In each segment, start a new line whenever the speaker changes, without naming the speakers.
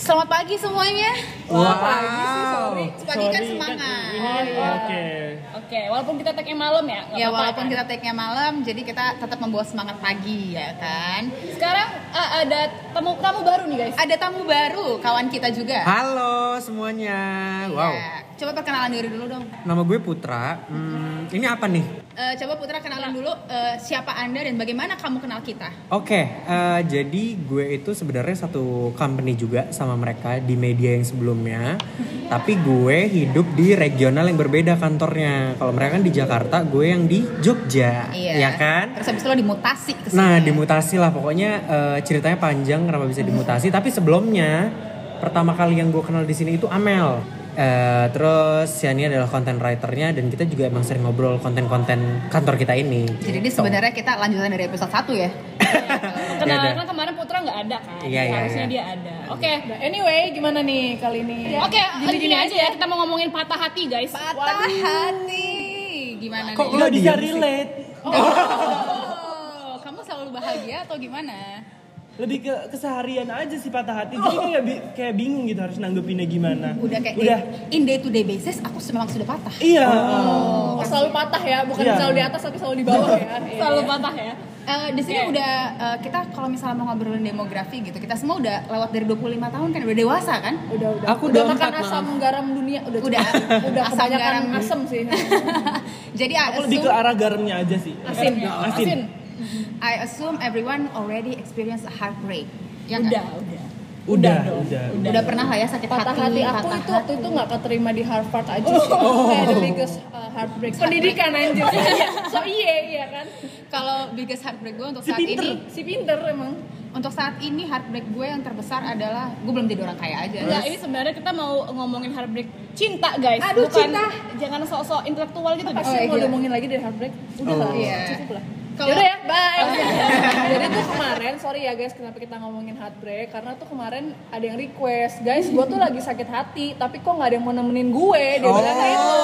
Selamat pagi semuanya.
Wah.
Pagi kan semangat.
Oke.
Iya. Oke, walaupun kita tag malam ya. nggak
Iya.
Ya
apa-apa
walaupun
kan?
kita take-nya malam, jadi kita tetap membawa semangat pagi ya kan.
Sekarang eh, ada tamu tamu baru nih guys.
Ada tamu baru, kawan kita juga.
Halo semuanya. Wow.
Ya, Coba perkenalan diri dulu dong.
Nama gue Putra. Hmm, ini apa nih?
Eh, coba Putra
Ya.
kenalan dulu eh, siapa Anda dan bagaimana kamu kenal kita.
Oke, eh, jadi gue itu sebenarnya satu company juga sama mereka di media yang sebelumnya. Tapi gue hidup di regional yang berbeda kantornya. Kalau mereka kan di Jakarta, gue yang di Jogja.
Iya.
Ya kan?
Terus habis itu lo dimutasi ke
Nah,
sini.
dimutasi lah pokoknya eh, ceritanya panjang kenapa bisa dimutasi. Tapi sebelumnya pertama kali yang gue kenal di sini itu Amel. Eh, terus Yani adalah content writernya dan kita juga emang sering ngobrol konten-konten kantor kita ini.
Jadi ini
Gitu.
sebenarnya kita lanjutan dari episode 1 ya.
Kenalan
ada.
kan kemarin Putra nggak ada kan?
Iya, iya,
Harusnya
iya.
dia ada. Oke.
Nah, anyway, gimana nih kali ini?
Oke, gini,
eh,
aja ya. Kita mau ngomongin patah hati guys.
Patah hati. Gimana
Kok
nih?
lo
bisa
diam Iya, sih?
relate.
Oh, kamu selalu bahagia atau gimana?
Lebih ke keseharian aja sih patah hati. Jadi kayak bi- kayak bingung gitu harus nanggepinnya gimana.
Udah kayak gitu.
Udah.
in day to day basis aku memang sudah patah.
Iya.
Oh, selalu patah ya, bukan
Iya.
selalu di atas tapi selalu di bawah ya. Iya.
Selalu patah ya.
Eh, di sini udah eh, kita kalau misalnya mau ngobrolin demografi gitu, kita semua udah lewat dari 25 tahun kan udah dewasa kan?
Udah, udah.
Aku
udah
udah
makan
empat, maaf.
asam garam dunia, udah
Udah.
cukup. udah
Asam
kebanyakan
garam.
asam sih.
Jadi I
Aku
assume,
lebih ke arah garamnya aja sih.
Asin.
Eh,
Asin.
asin.
I assume everyone already experience a heartbreak. Ya nggak?
Udah, udah.
Udah,
Udah dong.
udah.
Udah, pernah lah ya sakit
Patah hati aku
patah
itu
hati.
waktu itu nggak keterima di Harvard aja sih.
Oh.
Kayak the biggest uh, heartbreak. Pendidikan anjir. so iya, iya kan.
Kalau biggest heartbreak gue untuk
Si
saat
pinter.
ini,
Si pinter emang.
untuk saat ini heartbreak gue yang terbesar adalah gue belum jadi orang kaya aja.
Enggak, ini sebenarnya kita mau ngomongin heartbreak cinta guys.
Aduh,
Bukan,
cinta.
Jangan sok-sok intelektual gitu.
Pasti
iya,
mau
gila.
diomongin lagi dari heartbreak. Udah
Oh.
lah,
Iya.
cukup lah.
Kalau-
Yaudah ya, bye. Jadi tuh kemarin, sorry ya guys, kenapa kita ngomongin heartbreak? Karena tuh kemarin ada yang request, guys, gue tuh lagi sakit hati, tapi kok nggak ada yang mau nemenin gue? Dia bilang kayak itu.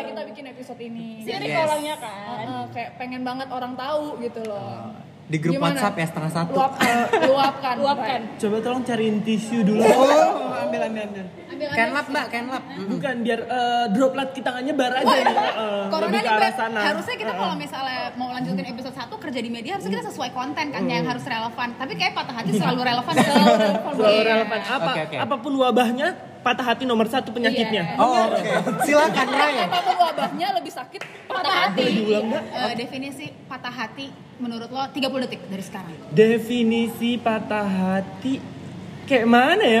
Jadi kita bikin episode ini.
Oh. Si Rick
Yes.
orangnya kan.
Heeh, kayak pengen banget orang tahu gitu loh.
Di grup
Gimana?
WhatsApp ya setengah satu.
Luapkan, luapkan,
Oh. Luapkan.
Coba tolong cariin tisu dulu. Oh, ambil ambil ambil.
Kenlap mbak, kenlap. Mm.
Bukan biar eh, droplet kita nggak nyebar aja. nih. Heeh,
Corona
lebih
nih
ke arah
Beb.
sana.
harusnya kita
Heeh.
kalau misalnya mau lanjutin episode 1 kerja di media harusnya kita sesuai konten kan yang harus relevan. Tapi kayak patah hati selalu relevan. selalu relevan.
selalu
Iya.
relevan. Apa
Oke, oke.
apapun wabahnya, patah hati nomor
Iya.
satu penyakitnya.
Oh, oke.
Iya.
Silakan Ray.
Apapun wabahnya lebih sakit patah hati.
Diulang nggak?
Eh, definisi patah hati menurut lo 30 detik dari sekarang.
Definisi patah hati kayak mana ya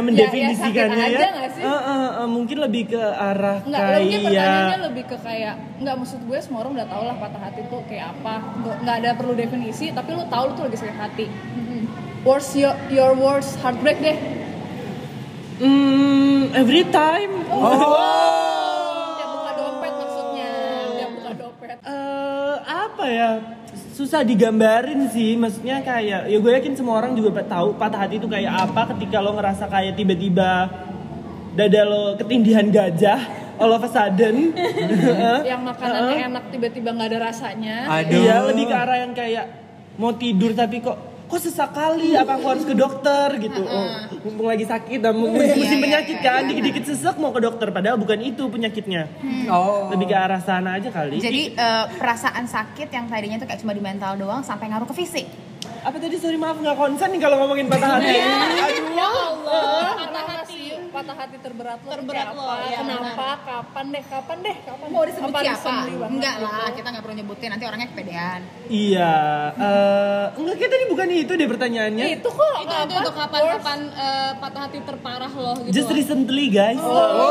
Ya,
mendefinisikannya ya?
ya, sakit aja nggak sih?
Eh, eh, eh, mungkin lebih ke arah
Enggak,
kayak iya.
lebih pertanyaannya lebih ke kayak enggak maksud gue semua orang udah tau lah patah hati tuh kayak apa. Nggak- Enggak ada perlu definisi, tapi lu tahu lu tuh lagi sakit hati. Worst your, your worst heartbreak deh.
Hmm, every time.
Oh.
Oh,
Dia buka dompet maksudnya. Dia buka dompet.
Eh, apa ya? Susah digambarin sih, maksudnya kayak ya gue yakin semua orang juga tahu patah hati itu kayak apa ketika lo ngerasa kayak tiba-tiba dada lo ketindihan gajah all of a sudden.
Yang makanannya enak tiba-tiba nggak ada rasanya.
Aduh.
Iya, lebih ke arah yang kayak mau tidur tapi kok kok sesekali apa aku harus ke dokter gitu. Oh, mumpung lagi sakit dan mumpung musim penyakit kan, dikit-dikit sesek mau ke dokter padahal bukan itu penyakitnya.
Oh.
Lebih ke arah sana aja kali.
Jadi eh, perasaan sakit yang tadinya tuh kayak cuma di mental doang sampai ngaruh ke fisik.
apa tadi sorry maaf nggak konsen nih kalau ngomongin patah hati. Aduh.
Ya Allah, patah
Patah
hati.
hati, patah hati terberat lo
Terberat
kayak
lo,
apa?
iya,
kenapa, kapan deh, kapan deh, kapan
Mau disebut
Kapan
siapa?
disembeli banget
Enggak
gitu.
lah, kita nggak perlu nyebutin nanti orangnya kepedean.
Iya, eh enggak kita tadi bukan itu deh pertanyaannya.
Itu kok
Itu itu
apa?
untuk kapan-kapan eh, patah hati terparah loh gitu.
Just
loh.
recently guys.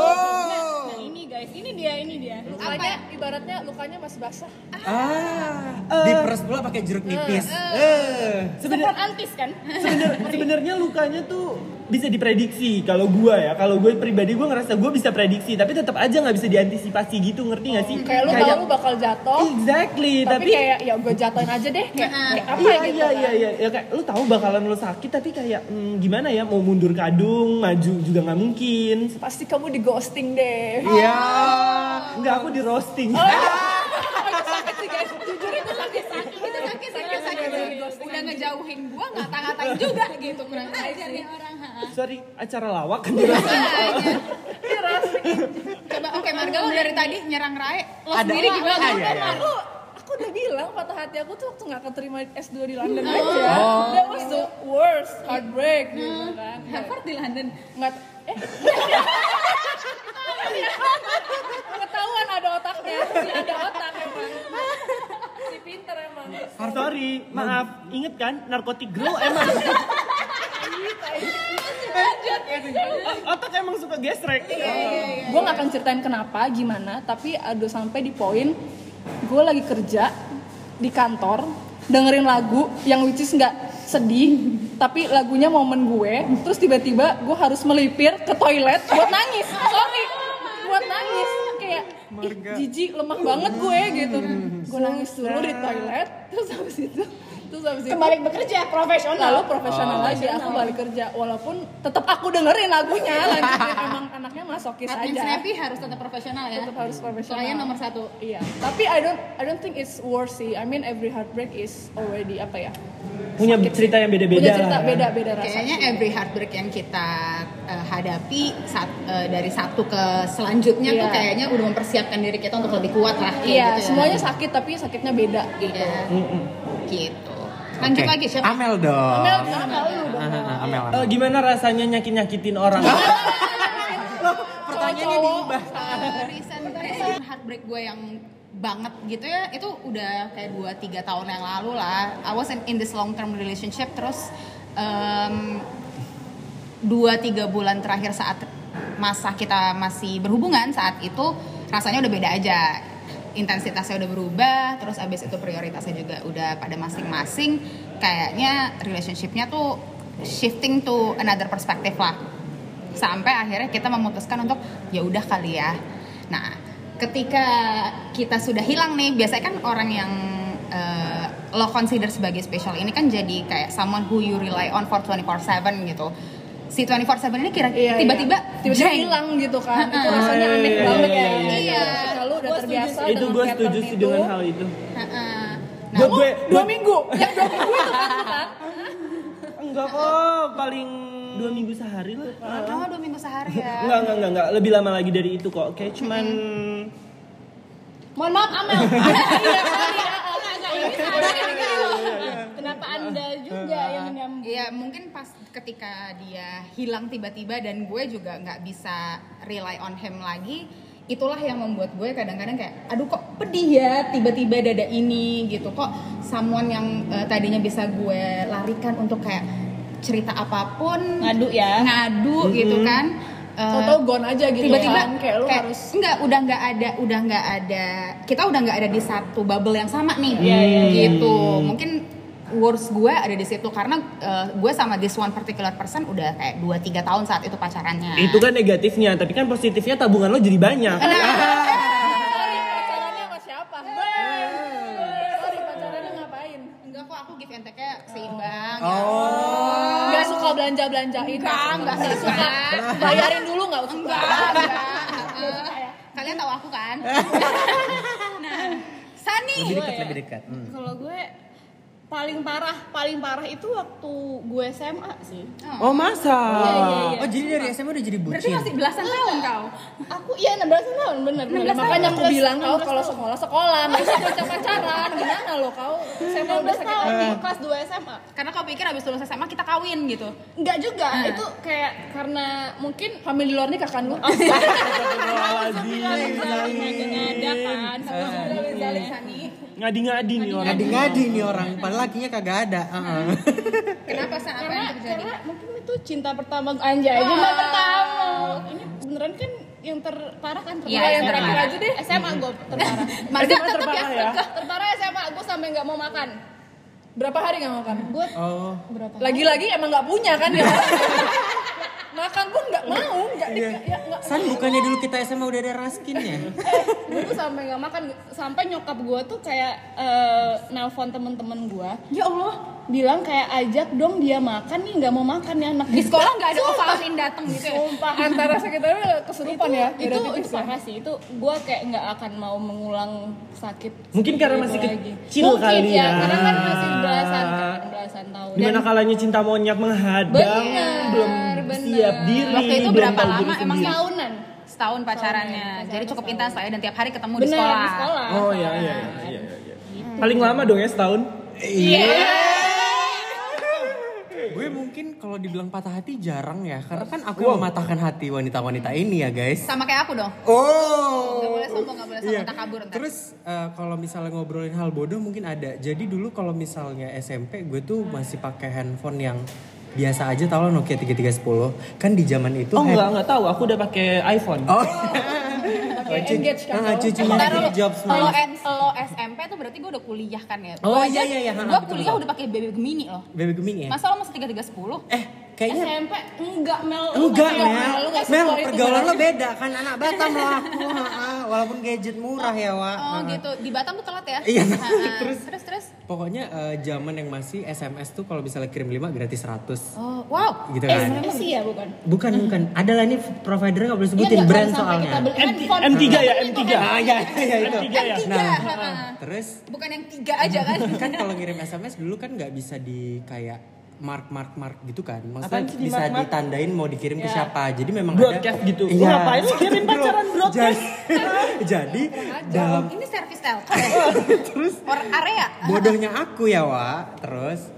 Nah, ini guys, ini dia, ini dia.
lukanya ibaratnya lukanya masih basah
Ah,
Eh.
diperes pula pakai jeruk nipis. Eh.
Sebenar-
Semprot antis kan?
Sebenar- sebenarnya lukanya tuh bisa diprediksi kalau gua ya kalau gue pribadi gua ngerasa gua bisa prediksi tapi tetap aja nggak bisa diantisipasi gitu ngerti nggak sih
kayak lu tahu lu bakal jatuh
exactly
tapi,
tapi,
kayak ya gue jatuhin aja deh kayak, kayak apa gitu
iya, iya,
kan.
iya, iya, Ya, kayak lu tahu bakalan lu sakit tapi kayak hmm, gimana ya mau mundur kadung maju juga nggak mungkin
pasti kamu di ghosting deh
Iya.
nggak aku di roasting
Oh, itu sakit sih guys jujur itu sakit sakit itu sakit sakit sakit
Udah nggak ngejauhin gua nggak tang-tangan juga gitu kurang ajar nih orang ha.
Sorry, acara lawak kan dirasa.
Ajar. Coba oke Marga lo dari tadi nyerang Rae. Lo
Ada-
sendiri gimana?
Ah, iya, iya.
aku aku udah bilang patah hati aku tuh waktu nggak keterima S2 di London aja
Oh.
that was the worst heartbreak gitu kan
Harvard di London.
nggak eh ketahuan ada otaknya si ada otak emang si pinter emang
Sorry, maaf. Ingat kan narkotik grow emang otak emang suka gesrek.
Iya. gue nggak akan ceritain kenapa gimana tapi ada sampai di poin gue lagi kerja di kantor dengerin lagu yang which is nggak sedih tapi lagunya momen gue terus tiba-tiba gue harus melipir ke toilet buat nangis sorry buat nangis kayak ih jijik lemah banget gue gitu gue nangis dulu di toilet terus habis itu terus habis itu
Kembali bekerja
lalu
profesional.
profesional lagi aku balik kerja walaupun tetap aku dengerin lagunya lanjutin emang anaknya masokis
Admin
aja
Snappy harus tetap profesional ya.
tetap harus profesional
Klien nomor satu.
iya tapi I don't I don't think it's worth it I mean every heartbreak is already apa ya
Punya cerita yang beda-beda.
punya cerita
lah, kan?
beda beda rasa
Kayaknya every heartbreak yang kita eh, hadapi saat, eh, dari satu ke selanjutnya tuh
Iya.
kayaknya udah mempersiapkan diri kita untuk lebih kuat lah. kayak
iya
gitu ya.
semuanya sakit tapi sakitnya beda gitu
Iya. Gitu. Lanjut
Oke.
lagi siapa?
Amel dong.
Mel, kenapa lu dong?
Ah, ah, ah, Amel. Amel.
Eh, gimana rasanya nyakitin-nyakitin orang?
Pertanyaannya diubah.
Eh, recent, recent heartbreak gue yang banget gitu ya itu udah kayak 2-3 tahun yang lalu lah I was in, in this long term relationship terus em, dua tiga bulan terakhir saat masa kita masih berhubungan saat itu rasanya udah beda aja intensitasnya udah berubah terus abis itu prioritasnya juga udah pada masing-masing kayaknya relationshipnya tuh shifting to another perspective lah sampai akhirnya kita memutuskan untuk ya udah kali ya nah ketika kita sudah hilang nih biasanya kan orang yang eh, lo consider sebagai special ini kan jadi kayak someone who you rely on for 24/7 gitu si 24/7 ini kira
Iya,
tiba-tiba
iya. tiba-tiba
jeng.
hilang gitu kan itu
Ha-ha.
rasanya
Oh,
aneh
iya,
banget
iya,
ya
iya,
iya.
kalau udah
Gua setuju
terbiasa
sih.
itu
dengan
gue setuju
pattern
sih
itu.
dengan hal itu.
Heeh. nah,
Gue
Kamu
gue
dua minggu yang dua minggu itu kan lu kan
enggak kok paling dua minggu sehari lah.
oh, dua minggu sehari
Enggak,
ya
enggak, enggak, enggak. Lebih lama lagi dari itu kok. Kayak cuman
Mohon maaf Amel. Kenapa Anda juga yang menyambut?
Iya mungkin pas ketika dia hilang tiba-tiba dan gue juga nggak bisa rely on him lagi itulah yang membuat gue kadang-kadang kayak aduh kok pedih ya tiba-tiba dada ini gitu kok someone yang eh, tadinya bisa gue larikan untuk kayak cerita apapun
Ngadu ya.
ngadu gitu kan Eh,
Tahu-tahu gone aja gitu
tiba-tiba
kan. Kayak lu harus
enggak udah nggak ada udah nggak ada kita udah nggak ada di satu bubble yang sama
Iya,
nih gitu mungkin worst gue ada di situ karena eh, gue sama this one particular person udah kayak 2 3 tahun saat itu pacarannya
itu kan negatifnya, tapi kan positifnya tabungan lo jadi banyak.
Nah.
Sorry, pacarannya sama siapa? Sorry, pacarannya ngapain?
enggak kok aku give and take-nya seimbang ya
Gak suka belanja-belanjain
Enggak, enggak
Nggak
suka.
suka Bayarin dulu gak
ya.
suka
enggak enggak Eh, kalian tahu aku kan nah Sani
Lebih dekat, lebih dekat. Hmm.
Kalau gue paling parah, paling parah itu waktu gue SMA sih.
Oh, masa?
Iya.
Oh, jadi dari SMA udah jadi
berarti
bucin.
masih belasan tahun kau
Aku iya 16 tahun bener.
Nah,
bener.
makanya aku
16
bilang kau kalau
16 tahun.
sekolah sekolah nggak usah pacar pacaran gimana lo kau saya mau udah
16
sakit
tahun
hati
di kelas 2 SMA.
karena kau pikir abis lulus SMA kita kawin gitu
Enggak juga, itu kayak karena mungkin
family luar kan, nih kakak lu
ada kan sama
Ngadi-ngadi nih orang.
Ngadi-ngadi nih orang, padahal lakinya kagak ada.
Nah.
Uh-uh. Heeh.
Kenapa San? Apa yang
karena
terjadi?
karena Ya, mungkin itu cinta pertama anjay cinta pertama ini beneran kan yang terparah kan terparah
Iya,
yang
SMA.
terakhir aja deh SMA gue terparah
Nah,
Marga
Emang
tetap ya.
terparah ya?
terparah SMA gue sampai nggak mau makan
berapa hari nggak makan
gue
Oh.
berapa
lagi-lagi emang nggak punya kan ya makan pun nggak mau nggak di- ya nggak
San bukannya dulu kita SMA udah ada raskin ya?
gue tuh sampai nggak makan sampai nyokap gue tuh kayak eh, nelpon temen-temen gue
ya Allah
bilang kayak ajak dong dia makan nih nggak mau makan nih anak
Di sekolah nggak ada Ovaltine datang gitu ya?
sumpah
antara sakit hati dan kesurupan ya
itu
Beda
itu
tipis ya.
parah sih itu gue kayak nggak akan mau mengulang sakit
Mungkin karena
itu
masih
lagi.
kecil
Mungkin
kali
ya,
ya.
karena kan masih belasan kan belasan tahun.
Dimana kalanya cinta monyet menghadang,
Bener,
belum
bener.
siap diri,
Waktu itu
belum
berapa
tahu
lama
diri
emang
sendiri.
tahunan? Setahun pacarannya. Jadi cukup intens lah ya dan tiap hari ketemu di
Bener,
sekolah.
di sekolah.
Oh iya iya iya. iya, iya. Paling lama dong ya setahun.
Gue mungkin kalau dibilang patah hati jarang ya, karena kan aku mematahkan hati wanita-wanita ini ya guys.
Sama kayak aku dong.
Oh.
Gak boleh sombong, gak boleh sombong, tak kabur ntar.
Iya. Terus eh, kalau misalnya ngobrolin hal bodoh mungkin ada. Jadi dulu kalau misalnya SMP gue tuh masih pakai handphone yang biasa aja tau lah Nokia 3310. Kan di zaman itu
Oh
hand-
enggak enggak tahu, aku udah pakai iPhone.
Oh.
Pakai engage kan
Ah,
kalau-
cucunya
Ntar lu-
Steve Jobs
Kalau
malah.
S- kalau SMP tuh berarti gue udah kuliah kan ya.
Oh,
Gua
iya,
aja-
iya, iya, ha,
Gua
betul,
kuliah
betul.
udah pakai BB mini loh.
Bebe Gemini ya?
Masa lo masih 3310?
Eh, kayaknya
SMP enggak Mel. Lu
Enggak,
masih
Mel.
Mel, lu nggak
Mel,
support itu,
pergaulan
Mel.
lo beda kan anak Batam lo aku. ah, Walaupun gadget murah ya, Wak.
Oh
Ah.
gitu. Di Batam tuh telat ya?
Iya.
Ha, ha. terus terus terus.
Pokoknya eh, zaman yang masih SMS tuh kalau misalnya kirim 5 gratis 100.
Oh, wow.
Gitu
Eh,
kan.
sebenarnya sih ya bukan.
Bukan, bukan. Adalah ini providernya nggak boleh
Iya
sebutin
nggak,
brand
kalau sampai
soalnya.
Kita beli
M-
handphone.
M3 ya, M3.
Ah, iya, iya itu.
M3 ya.
Tiga.
Nah,
ha, ha.
terus
Bukan yang tiga aja kan?
kan kalau ngirim SMS dulu kan nggak bisa di kayak mark mark mark gitu kan maksudnya
Apaan sih di
bisa
mark-mark?
ditandain mau dikirim ke siapa jadi memang
Broadcast
ada,
gitu. Lu ngapain lu kirim
Bro-
pacaran broadcast?
jadi, jadi dalam
Ini service telkom. terus or area.
bodohnya aku ya wa terus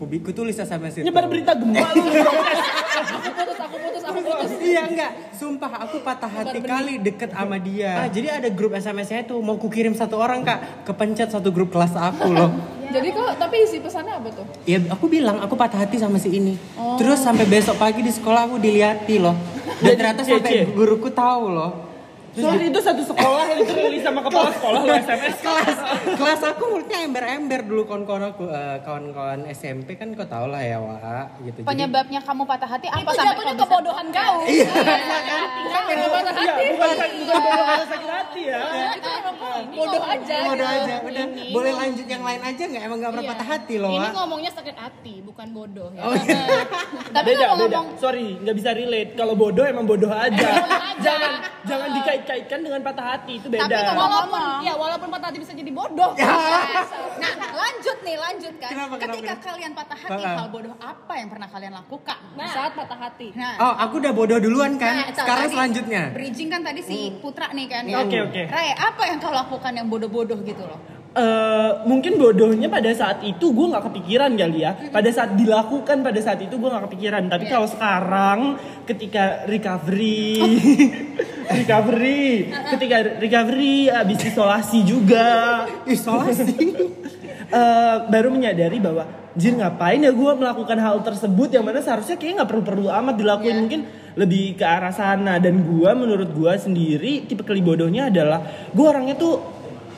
kubiku tulis SMS itu
Nyebar berita gempa lu.
Aku putus, aku putus, aku putus.
iya enggak sumpah aku patah hati kali deket sama dia ah, jadi ada grup SMS-nya itu mau kukirim satu orang kak kepencet satu grup kelas aku loh
Jadi kok tapi isi pesannya apa tuh?
ya aku bilang aku patah hati sama si ini terus sampai besok pagi di sekolah aku diliati loh dan
Jadi
ternyata
cie-cie.
sampai guruku tahu loh
Soalnya itu satu sekolah yang dirilis sama kepala sekolah lu SMS.
kelas kelas aku mulutnya ember-ember dulu kawan-kawan aku eh, kawan-kawan SMP kan kau tau lah ya Wak gitu Jadi-
Penyebabnya kamu patah hati apa sampai
Itu jatuhnya
kau bisa-
kebodohan kau.
Iya, bukan bukan bukan sakit hati ya.
Bodoh aja.
Bodoh aja,
gitu.
udah.
Ini
Boleh lanjut yang lain aja nggak? Emang nggak pernah patah hati loh,
Ini
Wak.
ngomongnya sakit hati, bukan bodoh ya.
Oh, iya.
Tapi
beda,
kalau
beda.
ngomong
Sorry, nggak bisa relate. Kalau bodoh emang bodoh aja.
aja.
jangan jangan dikait-kaitkan dengan patah hati itu beda. Ya.
Tapi kalau-
Walaupun ya walaupun patah hati bisa jadi bodoh.
gitu, Nah, lanjut nih, lanjut kan.
Kenapa, kenapa,
Ketika
kenapa?
kalian patah hati,
Ah.
hal bodoh apa yang pernah kalian lakukan?
Di saat patah hati.
Nah,
Oh, aku udah bodoh duluan
Nah,
kan?
itu
Sekarang
tadi
selanjutnya.
Bridging kan tadi si Putra nih kan. ya.
Hmm. Oke, oke.
Ray, apa yang kau lakukan yang bodoh-bodoh gitu loh?
Eh, mungkin bodohnya pada saat itu gue nggak kepikiran kali ya. Pada saat dilakukan pada saat itu gue nggak kepikiran. Tapi
Iya.
kalau sekarang ketika recovery, recovery, ketika recovery abis isolasi juga,
Isolasi.
eh, baru menyadari bahwa Jir ngapain ya gue melakukan hal tersebut yang mana seharusnya kayaknya nggak perlu-perlu amat dilakuin
Iya.
mungkin lebih ke arah sana dan gue menurut gue sendiri tipe kali bodohnya adalah gue orangnya tuh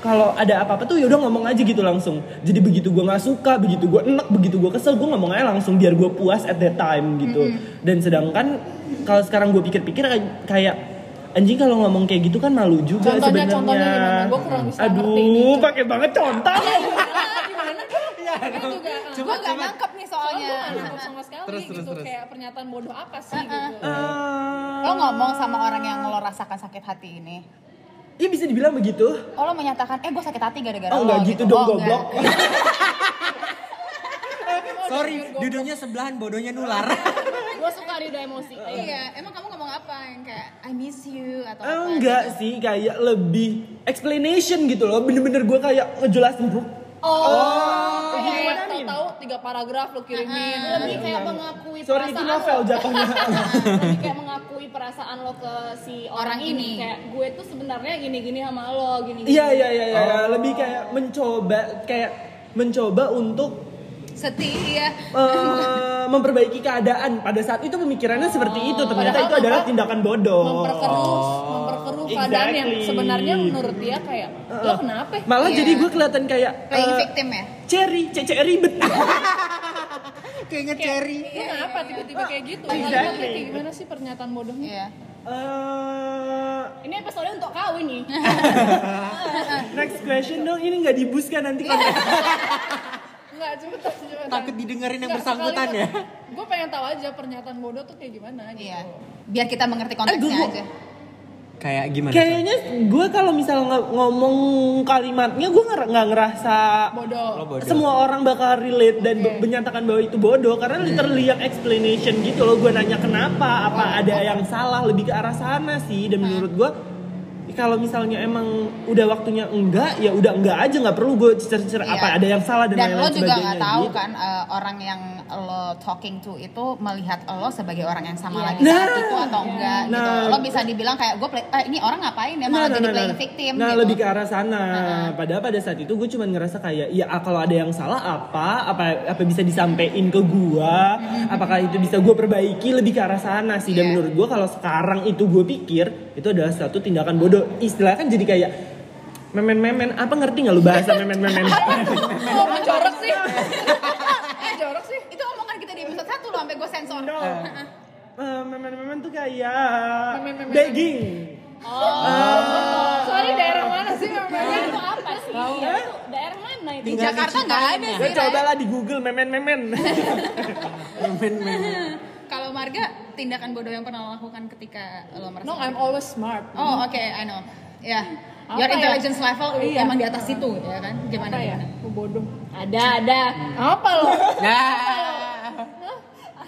kalau ada apa-apa tuh yaudah ngomong aja gitu langsung jadi begitu gue nggak suka begitu gue enek begitu gue kesel gue ngomong aja langsung biar gue puas at that time gitu dan sedangkan kalau sekarang gue pikir-pikir kayak- kayak anjing kalau ngomong kayak gitu kan malu juga
Contohnya,
sebenarnya
contohnya gimana? Gua kurang bisa ngerti ini.
aduh pakai banget contoh
Kan juga ah,
Gue gak nangkep nih soalnya.
soalnya gue nggak nangkep sama sekali
Terus,
gitu
terus, terus.
kayak pernyataan bodoh apa sih
Nah,
gitu.
Eh,
Lo ngomong sama orang yang lo rasakan sakit hati ini.
Iya bisa dibilang begitu.
Oh lo menyatakan, eh gue sakit hati gara-gara lo.
Oh enggak gitu dong
Oh, enggak.
goblok.
Sorry, duduknya sebelahan bodohnya nular.
Gue suka Rida emosi.
Iya, emang kamu ngomong apa yang kayak I miss you atau
Ah,
apa? gitu.
enggak sih kayak lebih explanation gitu loh. Bener-bener gue kayak ngejelasin bro.
Oh, kayak tahu-tahu tiga paragraf lu kirimin.
Lebih kayak mengakui
Sorry itu
perasaan
novel
lo.
jatuhnya.
Lebih kayak mengakui perasaan lo ke si orang,
Orang
ini.
ini.
Kayak gue tuh sebenarnya gini-gini sama lo, gini.
Iya iya iya iya. Lebih kayak mencoba kayak mencoba untuk
Setia.
eh, memperbaiki keadaan pada saat itu pemikirannya seperti itu ternyata
Padahal
itu adalah
memper-
tindakan bodoh
memperkeruh,
Oh.
memperkeruh keadaan yang
Exactly.
sebenarnya menurut dia kayak lo kenapa?
malah
Iya.
jadi gue kelihatan kayak
Playing
eh,
victim ya?
cherry cece ribet Eh,
Kayaknya cherry.
Lu kenapa tiba-tiba kayak gitu?
Exactly.
Lu kayak gimana sih pernyataan bodohnya?
Iya.
Eh,
Ini episode untuk kau ini.
Next question dong, ini nggak dibus kan nanti konten.
Enggak, cepetan, cepetan.
Takut didengerin yang bersangkutan ya.
Gue pengen tahu aja pernyataan bodoh tuh kayak gimana gitu.
Iya. Biar kita mengerti konteksnya
Eh, gua-
aja.
kayak gimana? Chan?
Kayaknya gue kalau misal nge- ngomong kalimatnya gue nger- nggak ngerasa
bodoh.
Lo bodoh.
semua orang bakal relate dan be- menyatakan bahwa itu bodoh karena literally yang explanation gitu loh gue nanya kenapa apa
Oh.
ada yang salah lebih ke arah sana sih dan menurut gue kalau misalnya emang udah waktunya enggak ya udah enggak aja nggak perlu gue cicer-cicer
Iya.
apa ada yang salah dan,
dan
lain-lain
lo juga
sebagainya
nggak tahu
gitu.
kan eh, orang yang lo talking to itu melihat lo sebagai orang yang sama lagi
Nah.
saat itu atau enggak gitu
Nah.
lo bisa dibilang kayak gue play- eh, ini orang ngapain ya malah jadi playing victim
Nah,
gitu
lebih ke arah sana. Padahal pada saat itu gue cuma ngerasa kayak ya ah, kalau ada yang salah apa apa apa bisa disampaikan ke gua, apakah itu bisa gue perbaiki lebih ke arah sana sih.
Mm-hmm. Iya.
Dan menurut gue kalau sekarang itu gue pikir itu adalah satu tindakan bodoh. Istilahnya kan jadi kayak memen-memen apa ngerti nggak lu bahasa memen-memen?
Kok mau jorok sih? Eh jorok sih.
itu omongan kita di episode satu lo sampai gue sensor
Nah.
Heeh.
Eh, Memen-memen tuh kayak begging.
Sorry daerah mana sih namanya?
itu apa sih? Iya, itu daerah mana itu?
di Jakarta nggak ada
Gue
sih kan? Ray.
Ya, cobalah di Google memen-memen.
kalau Marga tindakan bodoh yang pernah lo lakukan ketika lo merasa
No, I'm always smart.
oh oke I know ya
Apa
your
ya?
intelligence level
Iya.
emang di atas itu ya kan gimana
Apa ya?
gimana?
Aku bodoh.
Ada, ada.
Apa lo?
Nah,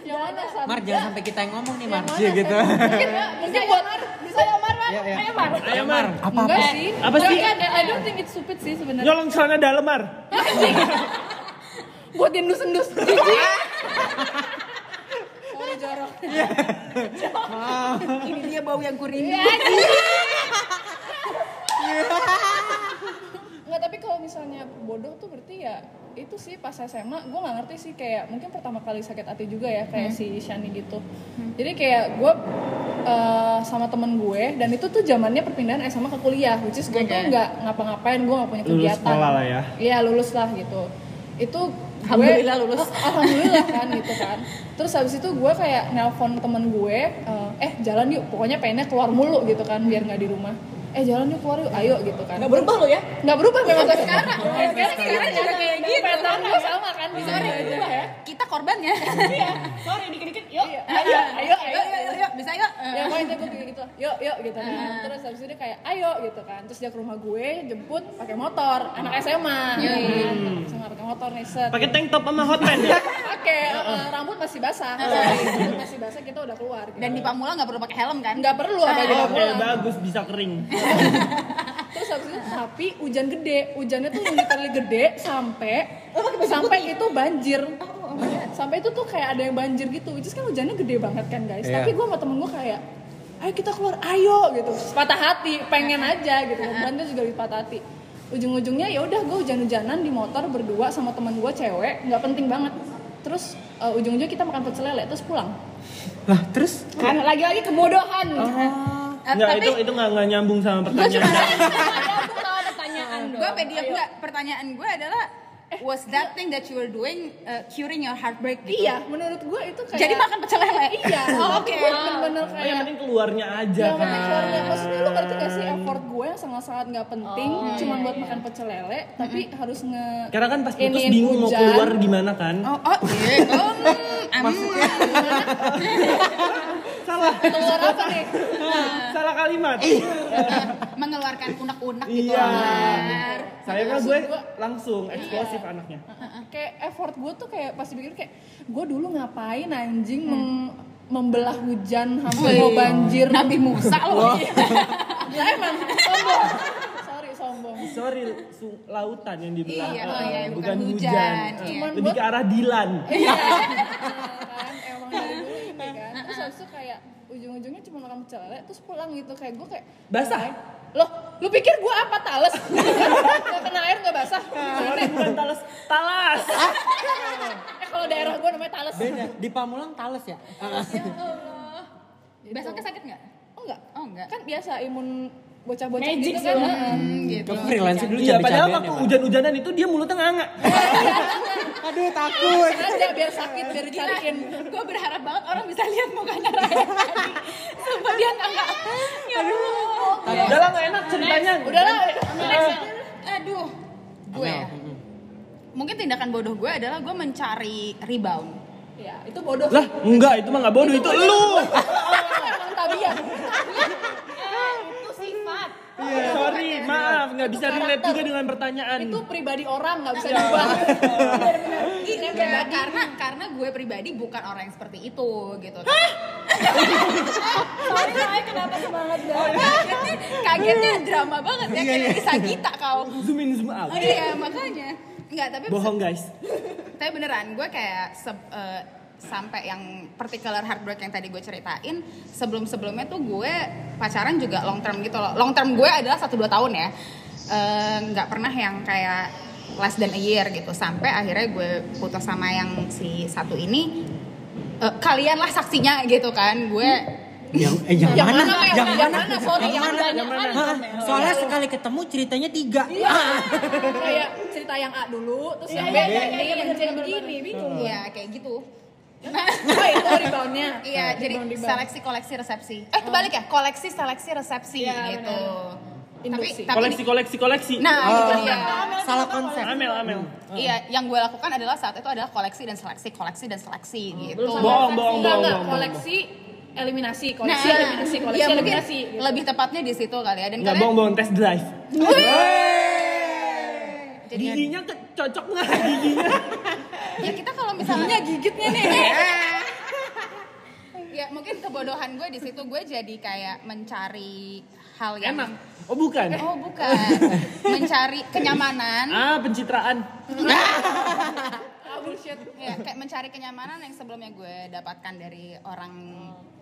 Yang mana San?
Mar jangan sampai kita yang ngomong nih Mar.
Yang mana,
Iya gitu.
Mungkin mungkin buat
Bisa ya Omar, Mar?
Ya,
Iya,
ya.
Ayo Mar.
Ayo Mar. Apa apa?
Enggak sih.
Apa sih?
Enggak, I don't think it's stupid sih sebenarnya.
Nyolong celana dalam, Mar.
buat diendus-endus jijik sorry jorok
ini dia bau yang kuring
nggak tapi kalau misalnya bodoh tuh berarti ya itu sih pas SMA gue nggak ngerti sih kayak mungkin pertama kali sakit hati juga ya kayak
Hmm.
si Shani gitu jadi kayak gue eh, sama temen gue dan itu tuh zamannya perpindahan SMA ke kuliah which is gue tuh
Oke.
nggak ngapa-ngapain gue nggak punya
Lulus
kegiatan
sekolah lah ya.
iya lulus lah gitu itu gue-
Alhamdulillah lulus.
alhamdulillah kan gitu kan terus habis itu gue kayak nelpon temen gue eh, eh jalan yuk pokoknya pengennya keluar mulu gitu kan biar nggak di rumah eh jalan yuk keluar yuk ayo gitu kan
Nggak berubah lo ya?
nggak berubah memang gitu. sampai sekarang
Sampai sekarang
sekarang
juga kayak gitu.
Sampai tahun gue sama kan bisa berubah ya
kita korbannya
Iya. Sorry, dikit-dikit. Yuk,
Iya.
ayo,
ayo
ayo,
ayo ayo, ayo bisa yuk
ya pokoknya gue kayak gitu yuk yuk gitu kan terus habis itu dia kayak ayo gitu kan terus dia ke rumah gue jemput pakai motor anak SMA ya kan sama pakai motor nih set
Pakai tank top sama hot pants ya?
pakai eh, rambut masih basah rambut masih basah kita udah keluar gitu.
dan di Pamula nggak perlu pakai helm kan
nggak perlu apa
Oke,
juga pulang.
Oh, eh, bagus bisa kering.
terus habis itu tapi hujan gede hujannya tuh literally gede sampai sampai itu banjir
Oh, iya.
sampai itu tuh kayak ada yang banjir gitu which is kan hujannya gede banget kan guys
Iya.
tapi gue sama temen gue kayak ayo kita keluar ayo gitu Terus patah hati pengen aja gitu dan dia juga lebih patah hati ujung-ujungnya ya udah gue hujan-hujanan di motor berdua sama temen gue cewek nggak penting banget terus eh, ujung-ujungnya kita makan pecel lele terus pulang
Lah, terus
kan lagi-lagi kebodohan
Eh,
Enggak,
tapi
itu itu nggak nggak nyambung sama pertanyaan.
Aku tahu pertanyaan dong.
gue
Iya.
pede enggak pertanyaan gue adalah
Eh,
was that thing that you were doing uh, curing your heartbreak gitu?
iya menurut gue itu kayak
jadi makan pecel lele
iya
oh, oke Iya,
gue bener-bener
Oh, yang
kayak
penting keluarnya aja
yang
kan.
penting keluarga
gitu.
maksudnya lu ngerti gak sih effort
Oh.
gue yang sangat-sangat nggak penting cuma
iya,
buat makan pecel lele tapi harus nge
Karena kan pas putus
Ini
bingung mau
hujan.
keluar gimana kan?
oh oh iya oh, mm, am.
Salah,
keluar apa nih
salah kalimat.
Eh, mengeluarkan unek-unek gitu
Iya.
Omar.
Saya kan gue langsung eksplosif anaknya.
kayak effort gue tuh kayak pasti pikir kayak gue dulu ngapain anjing meng- membelah hujan hampir mau
Hmm. Wih.
banjir
Nabi Musa loh
Lah, emang sombong sorry sombong
Sorry, su- lautan yang dibelah.
Iya, oh iya, bukan hujan.
Eh,
Cuman
Lebih
buat-
ke arah dilan.
kan emang
Iya.
dari dulu ini kan
Nah,
terus habis itu kayak ujung-ujungnya cuma makan pecel lele terus pulang gitu kayak gue kayak
Basah?
ngapain? loh lu pikir gue apa tales gak kena air gak basah
Sorry, bukan talas, talas.
eh kalau daerah gue namanya tales
beda. Di Pamulang Tales ya?
besoknya sakit nggak
oh enggak
oh enggak
kan biasa imun bocah-bocah
Magic
gitu
sih
kan
lo.
heeh.
Hmm, gitu
Kamu freelance dulu
Iya, padahal
bercanda-bercandaan
waktu
ya, Mar.
hujan-hujanan itu dia mulutnya nganga.
Aduh, takut.
sengaja biar sakit biar dicariin
gue berharap banget orang bisa lihat mukanya Raya tadi sumpah dia enggak ya Allah
Udah lah, nggak enak ceritanya.
udah lah
gitu. aduh gue ya?
Hmm.
mungkin tindakan bodoh gue adalah gue mencari rebound
ya itu bodoh
Lah, enggak, itu mah nggak bodoh, itu lu.
emang tabiat
Itu
Iya, sorry, maaf nggak bisa relate juga dengan pertanyaan.
Kan itu pribadi orang nggak bisa diubah Bener-bener.
Iya, karena karena gue pribadi bukan orang yang seperti itu gitu.
sorry saya kenapa semangat
Oh,
banget
iya. Kagetnya drama banget ya kayak Lisa Gita kau.
Zoom in zoom out.
Oh, iya, makanya. Enggak, tapi
Bohong guys.
tapi beneran gue kayak se- eh, sampai yang particular heartbreak yang tadi gue ceritain sebelum-sebelumnya tuh gue pacaran juga long term gitu loh. Long term gue adalah 1 2 tahun ya. Eh, nggak pernah yang kayak less than a year gitu sampai akhirnya gue putus sama yang si satu ini Eh, kalianlah saksinya gitu kan gue
Yang eh yang,
Yang
mana?
mana, Mel?
Yang
Yang
mana?
mana? Sorry, yang Iya, banyak kan,
Hah?
Mel.
Soalnya sekali ketemu ceritanya tiga.
kayak cerita yang A dulu terus yang B
iya, iya,
yang
iya,
D yang C
bener-bener.
begini bingung
ya kayak gitu
oh itu reboundnya
Iya, jadi
Rebound-rebound.
seleksi, koleksi, resepsi. Eh, kebalik ya, koleksi, seleksi, resepsi
Iya,
gitu. Tapi,
Induksi.
tapi
Koleksi koleksi koleksi.
nah itu
Oh.
dia.
Salah konsep.
Amel Amel.
Iya, yang gue lakukan adalah saat itu adalah koleksi dan seleksi, koleksi dan seleksi
Mm.
gitu.
Sama
Bohong,
koleksi.
bohong,
Enggak,
bohong,
enggak,
bohong,
koleksi eliminasi
Nah,
koleksi eliminasi koleksi
ya, mungkin
eliminasi gitu.
lebih tepatnya di situ kali ya. Dan
Nggak
kalian,
bohong bohong tes drive.
jadi
Giginya ke, cocok nggak giginya?
ya kita kalau misalnya gigitnya nih. ya
Iya,
mungkin kebodohan gue di situ gue jadi kayak mencari hal yang
Enak. Oh bukan.
Oh bukan, mencari kenyamanan.
Ah pencitraan.
ya kayak mencari kenyamanan yang sebelumnya gue dapatkan dari orang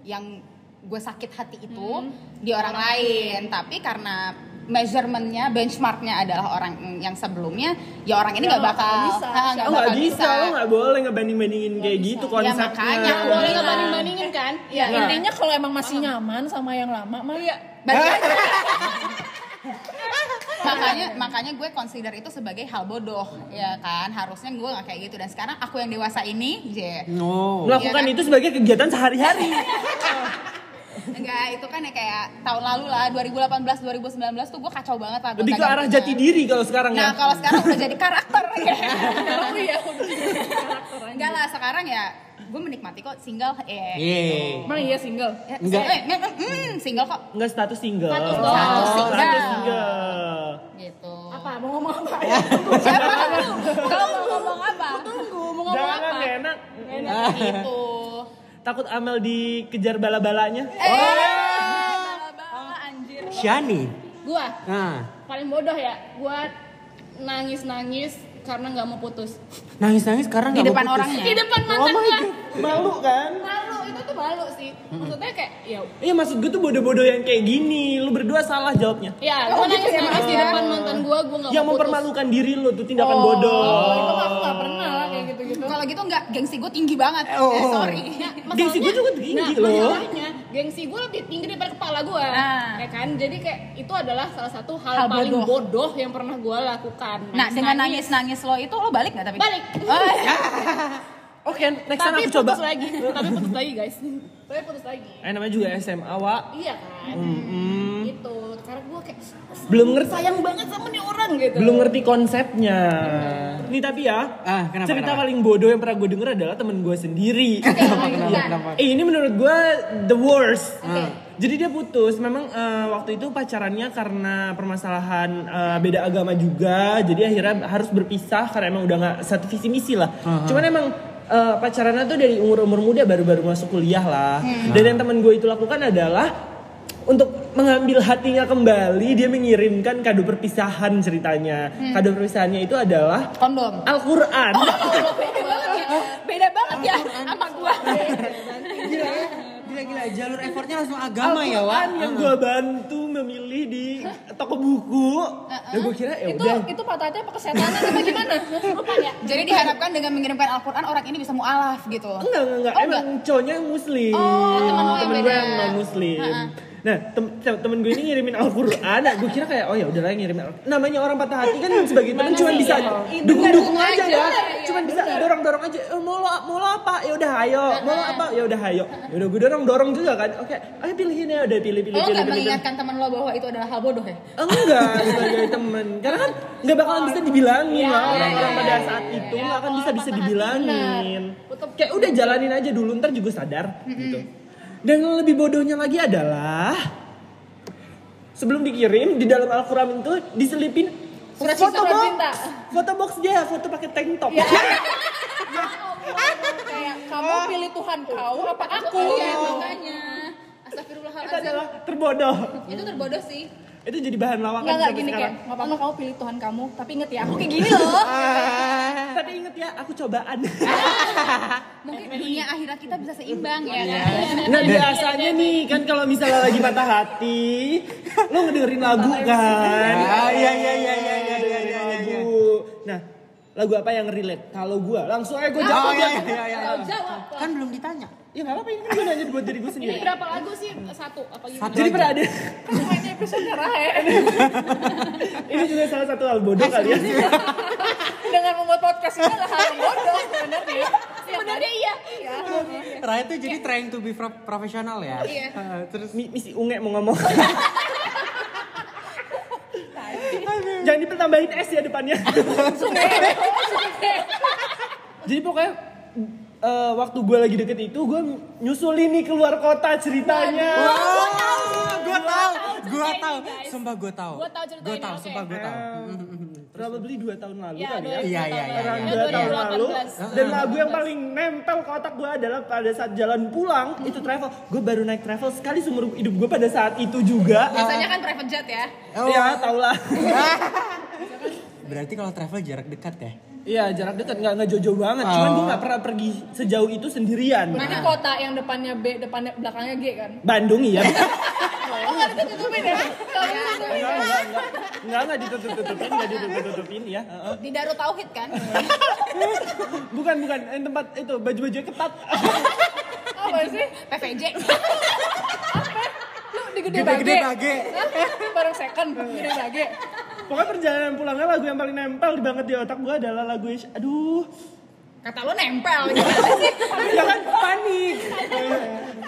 yang gue sakit hati itu di orang lain tapi karena measurementnya benchmarknya adalah orang yang sebelumnya ya orang ini nggak bakal
bisa.
ah, nggak
Oh
bakal
nggak bisa, lo nggak boleh ngebanding bandingin kayak gitu
ya
konsepnya.
makanya
Boleh
boleh
ngebanding bandingin kan?
ya intinya kalau emang masih nyaman sama yang lama mah ya
makanya makanya gue consider itu sebagai hal bodoh ya kan harusnya gue nggak kayak gitu dan sekarang aku yang dewasa ini je
No.
Iya
Melakukan
kan? Iya.
itu sebagai kegiatan sehari-hari.
enggak itu kan ya kayak tahun lalu lah 2018 2019 tuh gue kacau banget lah gue
Lebih ke arah
ganti-ganti.
jati diri kalau sekarang
Nah,
ya.
kalau sekarang udah jadi karakter ya.
aku ya aku udah jadi karakter aja.
Enggak lah, sekarang ya gue menikmati kok single eh.
Yeay.
emang iya single
Ya,
Enggak.
single, eh, eh, eh, mm, single kok
Enggak status single.
Status
Oh,
status single.
status single.
gitu.
apa mau ngomong apa ya
Siapa kamu? Kamu mau ngomong apa?
tunggu mau ngomong
Jangan
apa
nggak enak.
Gitu.
Takut Amel dikejar bala-balanya.
Eh,
Oh.
Bala-bala, anjir
Shani.
Gua
Nah,
paling bodoh ya. Gua nangis-nangis karena nggak mau putus.
nangis-nangis sekarang
Di
nggak mau
depan
putus.
orangnya.
Di depan mantan gua.
Oh Malu kan?
Malu, itu tuh malu sih. Maksudnya kayak ya
Iya maksud gue tuh bodoh-bodoh yang kayak gini. Lu berdua salah jawabnya.
Ya, gue nangis-nangis di depan mantan gue, gue gak
Yang
mau putus.
mempermalukan diri lu tuh tindakan bodoh.
oh itu mah aku nggak pernah lah kayak gitu gitu
Kalau gitu enggak gengsi gue tinggi banget.
Oh.
Eh, sorry.
Gengsi gue juga tinggi loh.
Nah, masalahnya gengsi gue lebih tinggi daripada kepala gue,
Nah.
ya kan? Jadi kayak itu adalah salah satu
Hal
hal, paling
bodoh.
bodoh. yang pernah gue lakukan.
Nah, dengan nangis-nangis lo itu lo balik nggak tapi?
balik,
Oh, ya.
Oke, next time
tapi
aku coba.
putus lagi, tapi putus lagi guys, tapi putus lagi.
Eh namanya juga SMA, Wak.
Iya kan? Gitu. Karena gue kayak
Belum ngerti
sayang banget sama nih orang gitu.
belum ngerti konsepnya. Nih tapi ya,
Ah, kenapa,
cerita
kenapa?
paling bodoh yang pernah gue denger adalah temen gue sendiri.
Kenapa, kenapa, kenapa?
eh ini menurut gue the worst. Hmm.
Oke.
Jadi dia putus, memang eh, waktu itu pacarannya karena permasalahan eh, beda agama juga, jadi akhirnya harus berpisah karena emang udah nggak satu visi misi lah. Cuman emang eh, pacarannya tuh dari umur umur muda baru-baru masuk kuliah lah.
Hmm.
Dan yang temen gue itu lakukan adalah untuk mengambil hatinya kembali dia mengirimkan kado perpisahan ceritanya
Hmm.
kado perpisahannya itu adalah
Kondom.
Al-Quran
Beda banget ya sama gue.
Gila, ya. gila, gila. Jalur effortnya langsung agama ya, Wak.
Al-Quran
Ah.
yang gue bantu memilih di toko buku
Ah,
dan gue kira ya
itu
udah
itu patahnya apa kesetanan apa gimana apa ya
Jadi diharapkan dengan mengirimkan Al-Quran orang ini bisa mualaf gitu.
enggak enggak enggak
Oh,
emang cowoknya yang muslim
Oh, temen lo yang
temen gue
beda. Ah,
yang non muslim
Ha-ha.
Nah, tem- tem- temen gue ini ngirimin Al-Quran, nah, gue kira kayak, oh ya udahlah ngirimin Al-Quran. Namanya orang patah hati kan sebagai temen cuma bisa
Iya.
dukung-dukung aja ya. Cuman bisa dorong-dorong aja. Eh, mau lo mau lo apa? Ya udah
Ah,
ayo. Mau lo apa? Ya udah ayo. Ya udah gue dorong-dorong juga kan. Oke, ayo pilihin ya udah pilih-pilih
Lo Oh,
pilih,
nggak
pilih, pilih.
mengingatkan teman lo bahwa itu adalah hal bodoh ya?
Enggak, sebagai temen. Karena kan nggak bakalan bisa
Iya,
dibilangin lah orang-orang pada saat itu nggak akan bisa bisa dibilangin. Kayak udah jalanin aja dulu ntar juga sadar gitu. Dan yang lebih bodohnya lagi adalah sebelum dikirim di dalam Al-Quran itu diselipin
Surat cinta,
foto
surat
box,
cinta.
foto box dia, foto pakai tank top.
Ya. kayak kamu pilih Tuhan kau apa aku
Iya,
gitu.
makanya.
Itu
Astagfirullahaladzim.
iya.
adalah terbodoh.
Itu terbodoh sih.
Itu jadi bahan lawakan
Enggak enggak
sampai
gini kayak
sekarang.
nggak apa-apa kamu pilih Tuhan kamu tapi inget ya aku kayak gini loh.
Tapi inget ya, aku cobaan.
Mungkin dunia akhirat kita bisa seimbang ya.
nah biasanya nih kan kalau misalnya lagi patah hati, lo ngedengerin lagu kan?
Ah, iya, iya, iya, iya, iya, iya, iya, iya.
Lagu. Nah, lagu apa yang relate? Kalau gua langsung aja gua
Oh
jawab.
iya iya iya.
Kau jawab.
Kan belum ditanya.
Ya nggak apa-apa ini kan gua nanya buat diri gua
Ini
sendiri.
Iya.
berapa lagu sih? Satu apa gimana?
Satu gitu?
Jadi
aja.
pernah ada
Kayaknya episode nyerah ya.
ini juga salah satu hal bodoh kali ya.
Dengan membuat podcast ini adalah hal yang bodoh sebenarnya.
Sebenarnya iya.
Raya tuh jadi trying to be pro- profesional ya.
Iya.
Ah, Terus
Mi- Misi unge mau ngomong. Jangan dipertambahin es ya depannya. Jadi pokoknya eh, waktu gue lagi deket itu gue nyusulin nih keluar kota ceritanya.
Wah, gua tahu, gua tahu. Sumpah gua tahu.
Gua tahu cerita
Gua
ini,
tahu,
oke.
sumpah gua tahu.
Probably dua tahun lalu
Iya,
kali ya.
dua-
Iya, iya, iya,
Around
iya.
dua tahun lalu
2018.
dan lagu yang paling nempel ke otak gue adalah pada saat jalan pulang itu travel gue baru naik travel sekali seumur hidup gue pada saat itu juga
Biasanya kan private jet ya.
Oh.
ya tau lah
Berarti kalau travel jarak dekat ya?
Iya jarak dekat nggak nggak jauh-jauh banget. Cuman gue nggak pernah pergi sejauh itu sendirian.
Berarti kota yang depannya B, depannya belakangnya G kan?
Bandung iya.
Oh, nggak ditutupin ya? Nggak ditutupin.
Nggak nggak nggak nggak nggak ditutup-tutupin nggak ditutup-tutupin ya. Heeh.
Di Darut Tauhid kan.
Bukan bukan eh, tempat itu baju-baju ketat.
Apa sih?
PVJ.
Lu di gede bage?
Gede-gede bage.
Hah? Bareng second, gede bage.
Pokoknya perjalanan pulangnya lagu yang paling nempel di banget di otak gue adalah lagu Ish. Aduh,
Kata lo nempel. Gimana sih?
jangan panik.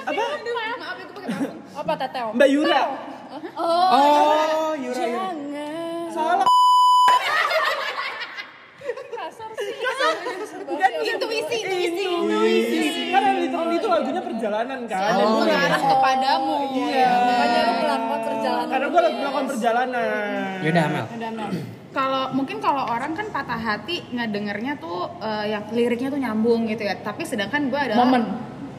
Apa?
Aduh, maaf itu pakai parfum.
Apa tetel?
Mbak Yura.
Oh, Yura. Yura.
Jangan.
Salah.
Kasar sih. Kasar.
Bukan intuisi,
Iya.
intuisi.
Ini karena literally itu lagunya perjalanan kan. Dan gue
Mengarah kepadamu. Iya.
Makanya lu melakukan perjalanan.
karena gue lagi melakukan perjalanan.
Yaudah, Mel.
Kalau mungkin kalau orang kan patah hati ngedengernya tuh eh, yang liriknya tuh nyambung gitu ya. Tapi sedangkan gue adalah
Momen.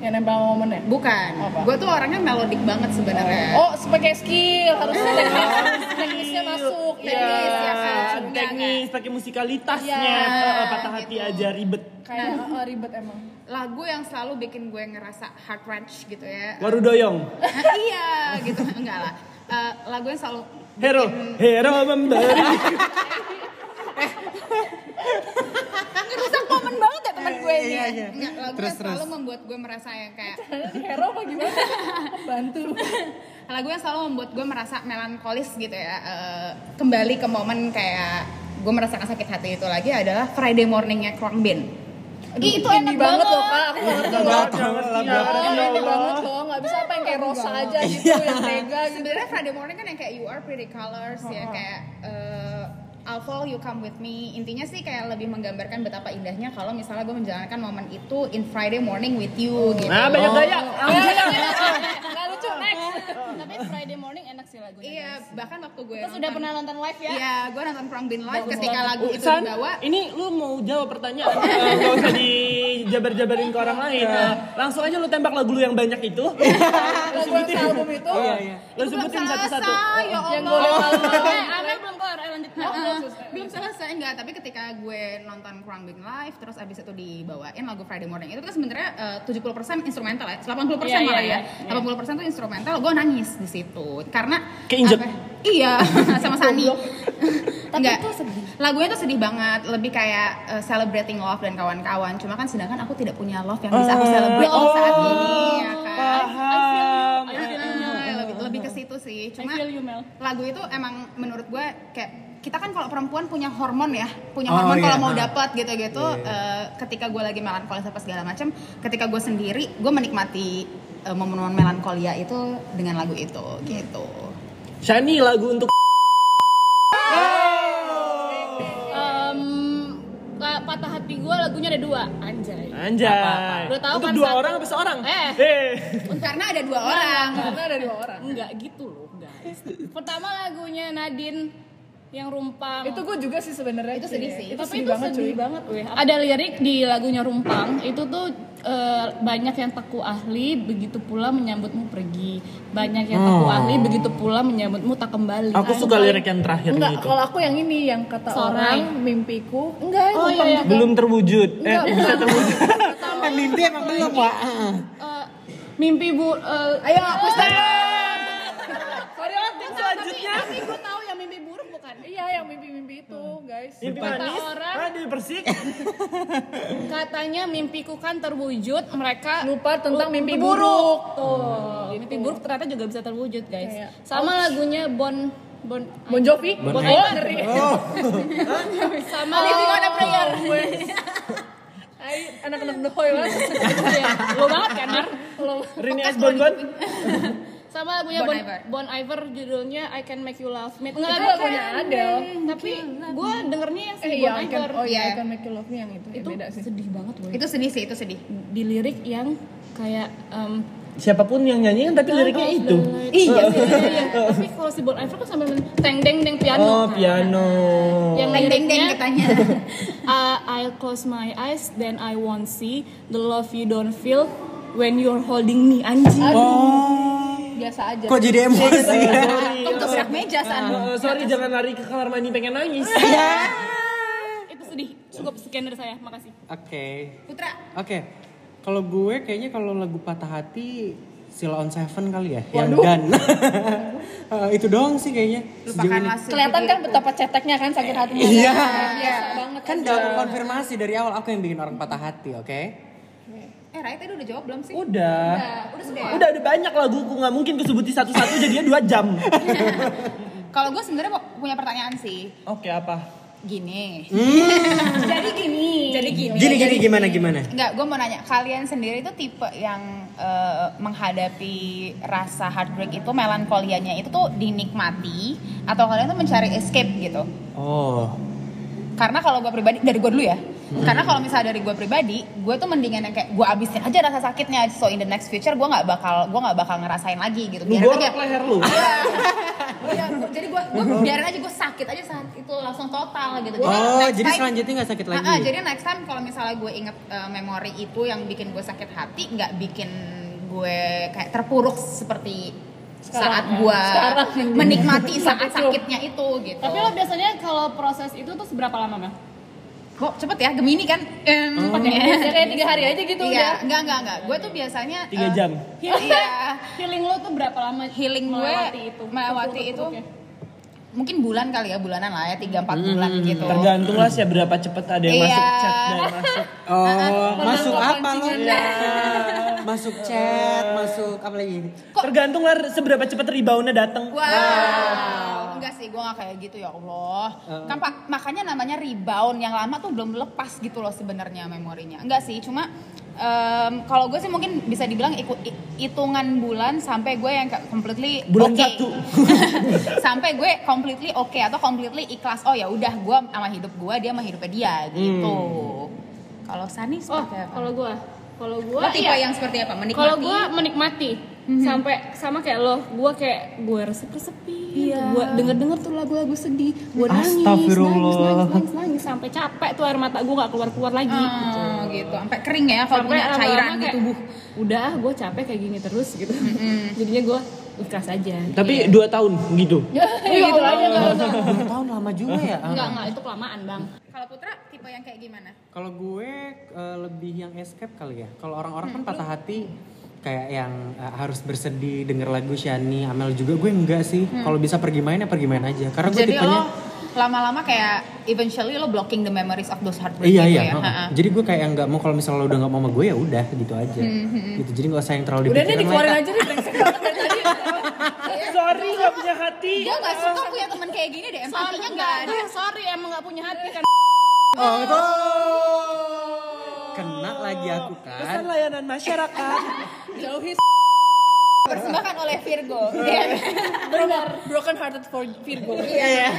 Yang nempel sama ya? momennya.
Bukan.
Apa?
Gue tuh orangnya melodik banget sebenarnya.
Oh, sebagai skill harus teknis, teknisnya
Iya.
masuk.
Teknis, ya kan?
Ah,
Enggak,
teknis pakai musikalitasnya
Iya,
Heeh, patah hati aja ribet
Kayak eh, ribet emang.
Lagu yang selalu bikin gue ngerasa heart wrench gitu ya.
waru doyong
Hah, iya gitu enggak lah. Eh, lagu yang selalu
hero hero memberi
ngerusak momen banget ya teman gue ini.
Iya, iya.
Enggak, lagu
Terus,
yang selalu
terus.
membuat gue merasa yang kayak
Ini hero apa gimana? Bantu.
lagu yang selalu membuat gue merasa melankolis gitu ya. Eh, kembali ke momen kayak gue merasakan sakit hati itu lagi adalah Friday morningnya Krang Bin. Ih, itu
Indie
enak
banget
banget
loh kak, aku banget loh.
Gak
Jangan,
tahu
jangan,
lagu
jangan.
apa.
Oh,
Ya
ini
Allah.
banget loh, nggak bisa apa yang kayak Rosa aja gitu, yang tega gitu.
sebenarnya Friday morning kan yang kayak you are pretty colors ya kayak eh, I'll follow you come with me intinya sih kayak lebih menggambarkan betapa indahnya kalau misalnya gue menjalankan momen itu in Friday morning with you gitu
nah banyak gaya
Nggak lucu, next.
Tapi Friday morning enak sih lagunya.
iya bahkan waktu gue
Kita sudah pernah nonton live ya?
iya gue nonton Prang Bin live ketika lagu itu
San,
dibawa
ini lu mau jawab pertanyaan Eh, nggak usah dijabar-jabarin ke orang lain Eh, langsung aja lu tembak lagu lu yang banyak itu
Lagu yang sealbum itu,
Iya,
lu sebutin satu-satu
selesai ya
yang
Allah
boleh malam-malam.
Eh, Amel belum kelar, eh lanjut.
Heeh,
Oh, belum selesai.
belum selesai enggak tapi ketika gue nonton Kurang Bing Live terus abis itu dibawain lagu Friday Morning itu kan sebenarnya eh, 70% instrumental ya 80%
Iya, iya,
malah
iya.
ya 80% tuh instrumental gue nangis di situ karena
Keinjek.
apa- iya sama Sani
Tapi
Enggak.
itu sedih.
lagunya tuh sedih banget lebih kayak eh, celebrating love dan kawan-kawan cuma kan sedangkan aku tidak punya love yang bisa aku celebrate
Oh.
saat ini ya kan
paham
I feel you,
Eh, lebih lebih ke situ sih
I
cuma
feel you, Mel.
lagu itu emang menurut gue kayak kita kan kalau perempuan punya hormon ya punya
Oh,
hormon
iya,
kalau mau
ha.
dapat gitu-gitu Eh, ketika gue lagi melankolis apa segala macam ketika gue sendiri gue menikmati eh, momen-momen melankolia itu dengan lagu itu gitu
Shani lagu untuk
Em, la- patah hati gue lagunya ada dua, anjay.
Anjay
Udah tahu
Untuk
kan
dua
satu.
orang apa seorang?
Eh.
Eh
karena ada dua orang
karena ada dua orang.
Enggak gitu loh, guys. Pertama lagunya Nadine yang rumpang.
Itu gue juga sih sebenarnya.
Itu sedih
cuy.
sih.
Itu
Tapi
sedih
itu
banget
sedih
cuy. banget gue.
ada lirik di lagunya rumpang itu tuh eh, banyak yang taku ahli begitu pula menyambutmu pergi banyak yang taku ahli begitu pula menyambutmu tak kembali
Aku suka lirik yang terakhirnya
Enggak,
itu.
kalau aku yang ini yang kata orang
Sorai.
mimpiku. Enggak, yang
Oh,
numpang
iya, iya.
juga.
Belum terwujud. Eh,
Enggak,
bisa terwujud.
Eh, mimpi emang belum pak
Eh, mimpi bu eh,
Ayo, aku Sorry, aku
tapi,
selanjutnya.
tapi gue tahu yang mimpi buruk bukan
Iya, yang mimpi-mimpi itu, guys.
Mimpi
Kata
manis.
orang-
Ah, dia persik.
katanya mimpiku kan terwujud mereka
Lupa tentang
lu-
mimpi buruk.
tuh mimpi buruk ternyata juga bisa terwujud guys
Kayak,
sama lagunya bon bon
Bon Jovi?
Bon
Oh,
Jovi.
ngeri.
sama living on a prayer
Ay, anak-anak dohoy banget.
Iya, lo banget kan Mar? Lo-
Rini S. Bonbon.
sama lagunya
Bon
Bon,
Iver.
Bon Iver judulnya I Can Make You Love Me
Enggak,
Enggak
itu
lagu
lagunya
kan?
Adele.
tapi gue dengernya yang si
Eh,
Bon
iya, I
Iver
can, oh iya,
iya.
I can make you love me yang itu.
itu
Itu beda sih.
sedih banget boy
Itu sedih sih, itu sedih.
di lirik yang kayak em,
Siapapun yang nyanyi kan tapi liriknya itu.
iya sih iya. tapi kalau si Bon Iver kan sambil main teng deng deng piano
Oh,
kan.
piano.
yang
Deng deng deng
liriknya
katanya.
uh, I close my eyes then I won't see the love you don't feel when you're holding me anjing
oh
Biasa aja.
kok jadi emosi ya
Untuk serak meja san.
Eh, sorry jangan lari ke kamar mandi pengen nangis.
itu sedih cukup sekian dari saya makasih
oke
Putra,
oke kalau gue kayaknya kalau lagu patah hati Sila on Seven kali ya yang
Waduh.
dan itu doang sih kayaknya Sejauh
lupakanlah sedih.
Kelihatan kan betapa ceteknya kan sakit hatinya.
ini. iya
Biasa banget Iya.
kan
aja.
udah aku konfirmasi dari awal aku yang bikin orang patah hati oke
Eh, Rai tadi udah jawab belum sih?
Udah.
Udah semua.
Udah ada banyak laguku nggak mungkin kesebuti satu-satu jadinya dua jam.
Kalau gue sebenarnya mau- punya pertanyaan sih.
Oke apa?
Gini.
Hmm.
jadi gini jadi
Iya,
gini
gini gini gimana gimana
Enggak, gue mau nanya. Kalian sendiri tuh tipe yang eh, menghadapi rasa heartbreak itu melankolianya itu tuh dinikmati atau kalian tuh mencari escape gitu?
oh
karena kalau gue pribadi dari gue dulu ya
Hmm.
karena kalau misalnya dari gue pribadi gue tuh mendingan yang kayak gue abisin aja rasa sakitnya so in the next future gue nggak bakal gue nggak bakal ngerasain lagi gitu
Lu
biarin aja
borok leher lu.
Iya, gua- jadi gue gue biarin aja gue sakit aja saat itu langsung total gitu
oh
next
jadi
time-
selanjutnya nggak sakit lagi
Ah, ah, jadi next time kalau misalnya gue inget eh, memori itu yang bikin gue sakit hati nggak bikin gue kayak terpuruk seperti saat gue menikmati saat sakitnya itu gitu
tapi lo biasanya kalau proses itu tuh seberapa lama Mel?
Kok cepet ya Gemini kan? Em,
Oh.
cepet ya.
Biasanya kayak tiga hari aja gitu
iya,
udah.
enggak enggak enggak. Gue tuh biasanya
Tiga
eh,
jam.
Iya.
healing lo tuh berapa lama
Healing gue
melewati itu
melewati itu
Terpuruk-terpuruknya.
mungkin bulan kali ya, bulanan lah ya, 3 4 bulan gitu.
Hmm, Tergantung lah siapa berapa cepet ada yang masuk
Iya.
chat ada yang masuk.
Ah,
oh masuk apa lo Iya,
pancingannya.
masuk chat masuk apa lagi
Tergantung lah seberapa cepet reboundnya datang.
Wow. Enggak sih, gue gak kayak gitu ya Allah.
Eh.
Kan Pak, makanya namanya rebound yang lama tuh belum lepas gitu loh sebenarnya memorinya. Enggak sih, cuma em, kalau gue sih mungkin bisa dibilang ikut i- hitungan bulan sampai gue yang kayak completely
Bulan
oke.
satu.
sampai gue completely oke atau completely ikhlas. Oh ya udah, gue sama hidup gue, dia sama hidupnya dia
Hmm.
gitu. Kalau Sani
oh
seperti apa?
kalau gue kalau gue
Lo tipe yang seperti apa? Menikmati.
Kalau gue menikmati sampai sama kayak lo, gue kayak gue resepi-resepi, gue denger-denger tuh lagu-lagu sedih, gue nangis, nangis, nangis,
Astagfirullah.
nangis, nangis, sampai capek tuh air mata gue gak keluar-keluar lagi. gitu.
Oh, gitu, sampai kering ya kalau
Sampai
punya
lama-lama
cairan gitu. di
kayak,
tubuh.
Udah, gue capek kayak gini terus gitu. Jadinya gue ikhlas aja.
Tapi dua tahun gitu.
Ya, gitu aja kalau
dua tahun lama juga ya
Enggak, enggak, itu kelamaan bang.
Kalau Putra tipe yang kayak gimana?
Kalau gue eh, lebih yang escape kali ya. Kalau orang-orang kan patah hati kayak yang eh, harus bersedih denger lagu Shani, Amel juga gue enggak sih. Kalau bisa pergi main ya pergi main aja. Karena gue
Hmm. Jadi
tipenya
lo lama-lama kayak eventually lo blocking the memories of those heartbreak
Iya
gitu
iya.
ya.
heeh.
Ha-ha.
Jadi gue kayak yang nggak mau kalau misalnya lo udah nggak mau sama gue ya udah gitu aja.
Hmm,
Gitu. Jadi nggak usah yang terlalu
Udah deh
dipikirin.
dikeluarin
lah.
aja deh brengsek banget dari tadi.
Sorry nggak punya hati.
Dia nggak suka punya teman kayak gini deh, empatinya nggak ada.
Eh, sorry emang gak punya hati kan.
Oh, itu. Kena lagi aku kan.
Pesan layanan masyarakat.
Jauhi
Persembahkan oleh Virgo. Iya.
benar broken hearted for Virgo.
iya.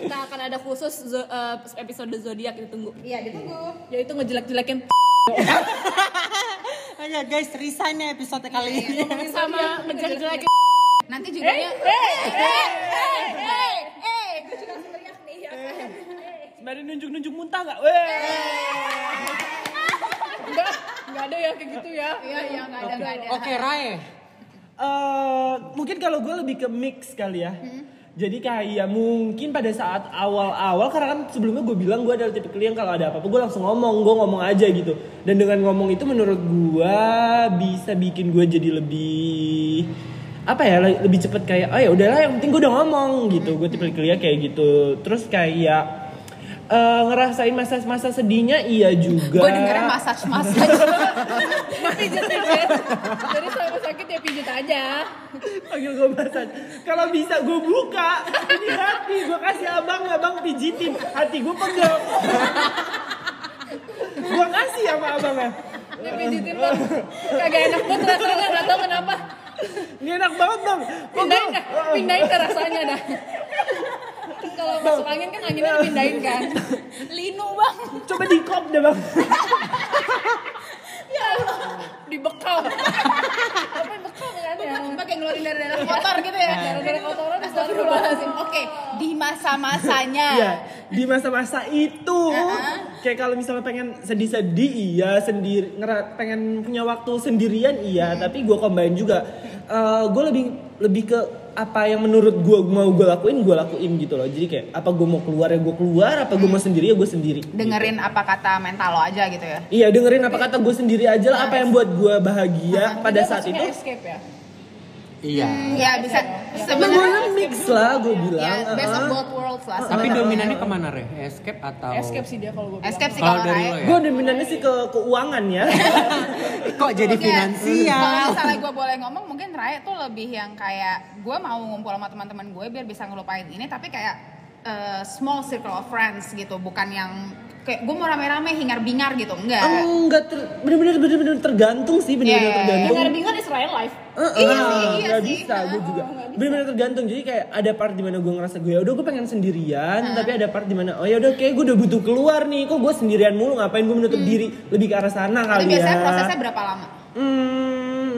Kita
Nah,
akan ada khusus zo- eh, episode zodiak ditunggu.
Iya, ditunggu.
Yaitu ngejelek-jelekin
Ayo guys, resign ya episode kali ini.
Iya,
Sama ngejelek-jelekin
Nanti judulnya eh.
Sembari nunjuk-nunjuk muntah nggak? Weh.
Enggak, enggak ada ya kayak gitu ya.
Iya, iya, nggak ada, nggak ada.
Oke, Rae.
Eh, mungkin kalau gue lebih ke mix kali ya. Jadi kayak mungkin pada saat awal-awal karena kan sebelumnya gue bilang gue adalah tipe klien kalau ada apa-apa gue langsung ngomong, gue ngomong aja gitu. Dan dengan ngomong itu menurut gue bisa bikin gue jadi lebih apa ya le- lebih cepet kayak oh ya udahlah yang penting gue udah ngomong gitu gue tipe klien kayak gitu terus kayak eh, ngerasain masa-masa sedihnya iya juga
Gue dengernya massage-massage.
Pijetin kan. Jadi sama sakit ya pijet aja.
panggil gue massage kalau bisa gue buka ini hati gue kasih abang abang pijitin hati gue pegel gue kasih sama abangnya
Dipijitin bang. Kagak enak banget rasanya enggak tahu kenapa.
ini enak banget bang pegel
Pindahin dah, pindahin ke rasanya dah. Kan Kalau masuk angin kan anginnya dipindahin kan.
Linu bang.
coba di kop deh bang
Dibekam. Apa yang bekam kan ya?
Pakai ngeluarin dari dalam kotor gitu ya.
Gara-gara kotoran
Astagfirullahaladzim. Oke, di masa-masanya.
Iya, di masa-masa itu kayak kalau misalnya pengen sedih-sedih iya, sendiri ngera- pengen punya waktu sendirian iya, tapi gue combine juga. gue lebih lebih ke apa yang menurut gue mau gue lakuin gue lakuin gitu loh. Jadi kayak apa gue mau keluar ya gue keluar, apa gue mau sendiri ya gue sendiri.
Dengerin apa kata mental lo aja gitu ya.
Iya dengerin apa kata gue sendiri aja lah apa yang buat gue bahagia pada saat
Maksudnya
itu.
escape ya.
Iya.
Iya bisa. Iya.
Gue
Sebenarnya
mix lah gue bilang.
ya best of
heeh.
both worlds lah.
Tapi dominannya kemana, Re? Escape atau?
Escape sih dia kalau gue bilang.
Escape sih
Kalau
kalau
dari
Rae.
lo ya?
Gue dominannya sih ke keuangan ya.
Kok jadi
Oke,
Iya,
Kalau
finansial?
misalnya gue boleh ngomong, mungkin Raya tuh lebih yang kayak gue mau ngumpul sama teman-teman gue biar bisa ngelupain ini, tapi kayak eh, small circle of friends gitu, bukan yang kayak gue mau rame-rame hingar-bingar gitu, enggak.
Oh,
Enggak Oh, ter, bener-bener bener-bener tergantung sih bener-bener
Iya, iya, iya.
tergantung.
Dengar-dengar Israel live.
Eh,
Iya
eh,
sih, iya
nggak
sih.
bisa, gue juga.
Oh, nggak bisa.
Bener-bener tergantung. Jadi kayak ada part dimana gue ngerasa gue, udah gue pengen sendirian, tapi ada part dimana, oh ya udah kayak gue udah butuh keluar nih. Kok gue sendirian mulu? Ngapain gue menutup diri? Lebih ke arah sana
Hmm. Tapi
iya.
kali
biasanya
ya.
prosesnya berapa lama?
Hmm,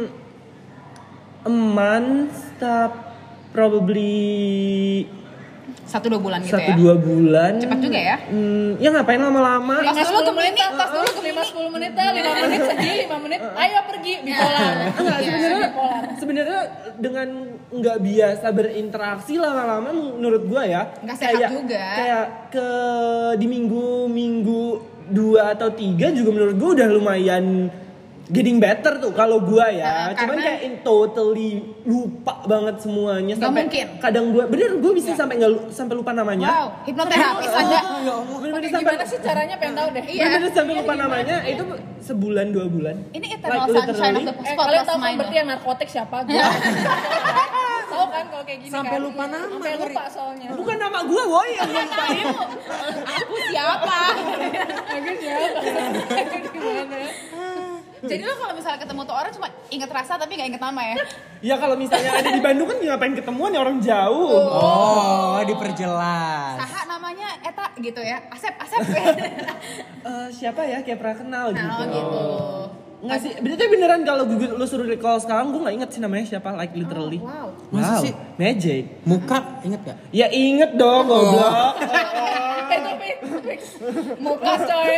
a month, tap- probably
Satu dua bulan gitu
satu
ya?
dua bulan.
Cepat juga ya? Iya,
Hmm, ya ngapain lama-lama?
Pas dulu ke menit, pas dulu ke 5 10 menit, 5 menit sedih, 5 menit, ayo pergi bipolar.
Enggak,
Iya,
sebenarnya sebenarnya dengan nggak biasa berinteraksi lama-lama menurut gua ya
Nggak sehat
kayak-
juga.
kayak ke di minggu minggu dua atau tiga juga menurut gua udah lumayan getting better tuh kalau gua
Nah,
ya cuman
karena-
kayak in totally lupa banget semuanya
Nggak
sampai
mungkin. Iya.
kadang gua bener gua bisa sampai nggak lu- sampai lupa namanya
Wow, hipnoterapis ada.
ya Allah, bener-bener sampai
Gimana sih caranya pengen tahu deh.
Iya.
bener-bener sampai lupa namanya itu sebulan dua bulan
Ini Eternal
Like,
Sunshine of
literally.
the
Eh, kalian
Spotless
tahu kan
Mind.
berarti yang narkotik siapa? Gua. tahu kan kalau kayak gini
Sampai
kan?
lupa nama,
Sampai lupa soalnya.
bukan nama gua woi yang gua lupain
Aku siapa?
Agus ya. Agus gimana?
Jadi lo kalau misalnya ketemu tuh orang cuma inget rasa tapi nggak inget nama ya?
Ya kalau misalnya ada di Bandung kan ngapain ketemuan ya orang jauh.
Oh, diperjelas.
Saha namanya Eta gitu ya? Asep, Asep.
Eh, siapa ya kayak pernah kenal gitu.
Nah, gitu.
Nggak sih, berarti beneran kalau gue lu suruh recall sekarang gue nggak inget sih namanya siapa like literally.
Wow.
Masa
Masa
sih?
sih magic?
Muka, inget gak?
Ya inget dong goblok.
Eh tapi fix.
muka coy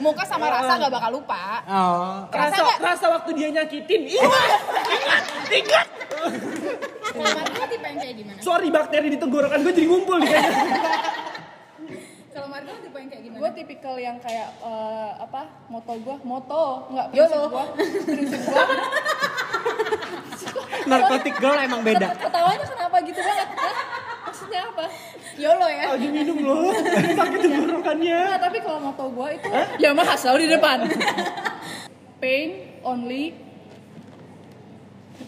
muka sama rasa nggak bakal lupa
Oh.
Rasa
Rasa
nggak?
rasa waktu dia nyakitin. Ingat. Ingat.
Iya.
Kalau tipe yang kayak gimana?
Sorry bakteri di tenggorokan gue jadi ngumpul di kayaknya.
Kalau Marco tipe yang kayak gimana?
Gue tipikal yang kayak eh, apa? Moto gue, moto nggak prinsip gue. Prinsip gue.
Narkotik girl emang beda.
Ketawanya kenapa gitu banget? Hah? Maksudnya apa?
yolo ya
Lagi minum loh. Sakit tenggorokannya.
Nah, tapi kalau moto gue itu ya mah selalu di depan. Pain only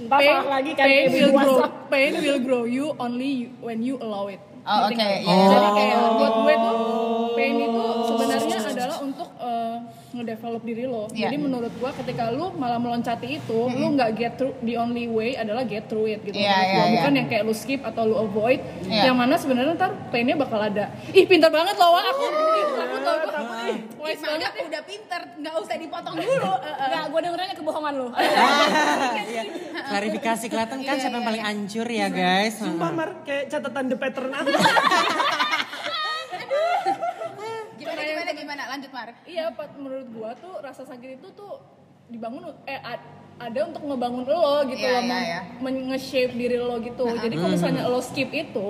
pain,
lagi kan
pain
kayak
will
puasa.
grow, pain will grow you only you- when you allow it.
Oh,
Ngerti
oke,
nggak?
iya.
Jadi kayak
Oh.
buat gue tuh pain itu sebenarnya adalah untuk eh, ngedevelop diri lo.
Iya.
Jadi menurut gue ketika lu malah meloncati itu, lu nggak get through the only way adalah get through it gitu.
Iya,
menurut
iya,
gua.
iya.
Bukan yang kayak lu skip atau lu avoid.
Iya.
Yang mana sebenarnya ntar painnya bakal ada. Ih pintar banget loh Wak. aku. Ih, Aku tau gue. Wise
Gimana
banget. eh,
udah pinter nggak usah dipotong dulu
Enggak, gue dengernya kebohongan lo.
Klarifikasi kelihatan kan siapa yang paling hancur ya guys.
Sumpah Mar, kayak catatan the pattern aku.
Gimana gimana gimana lanjut Mar.
Iya, Pat, menurut gua tuh rasa sakit itu tuh dibangun eh ad- ada untuk ngebangun lo gitu
Iya,
loh,
iya,
men-
iya. Nah, ah.
men- nge-shape diri lo gitu. Jadi kalau misalnya lo skip itu,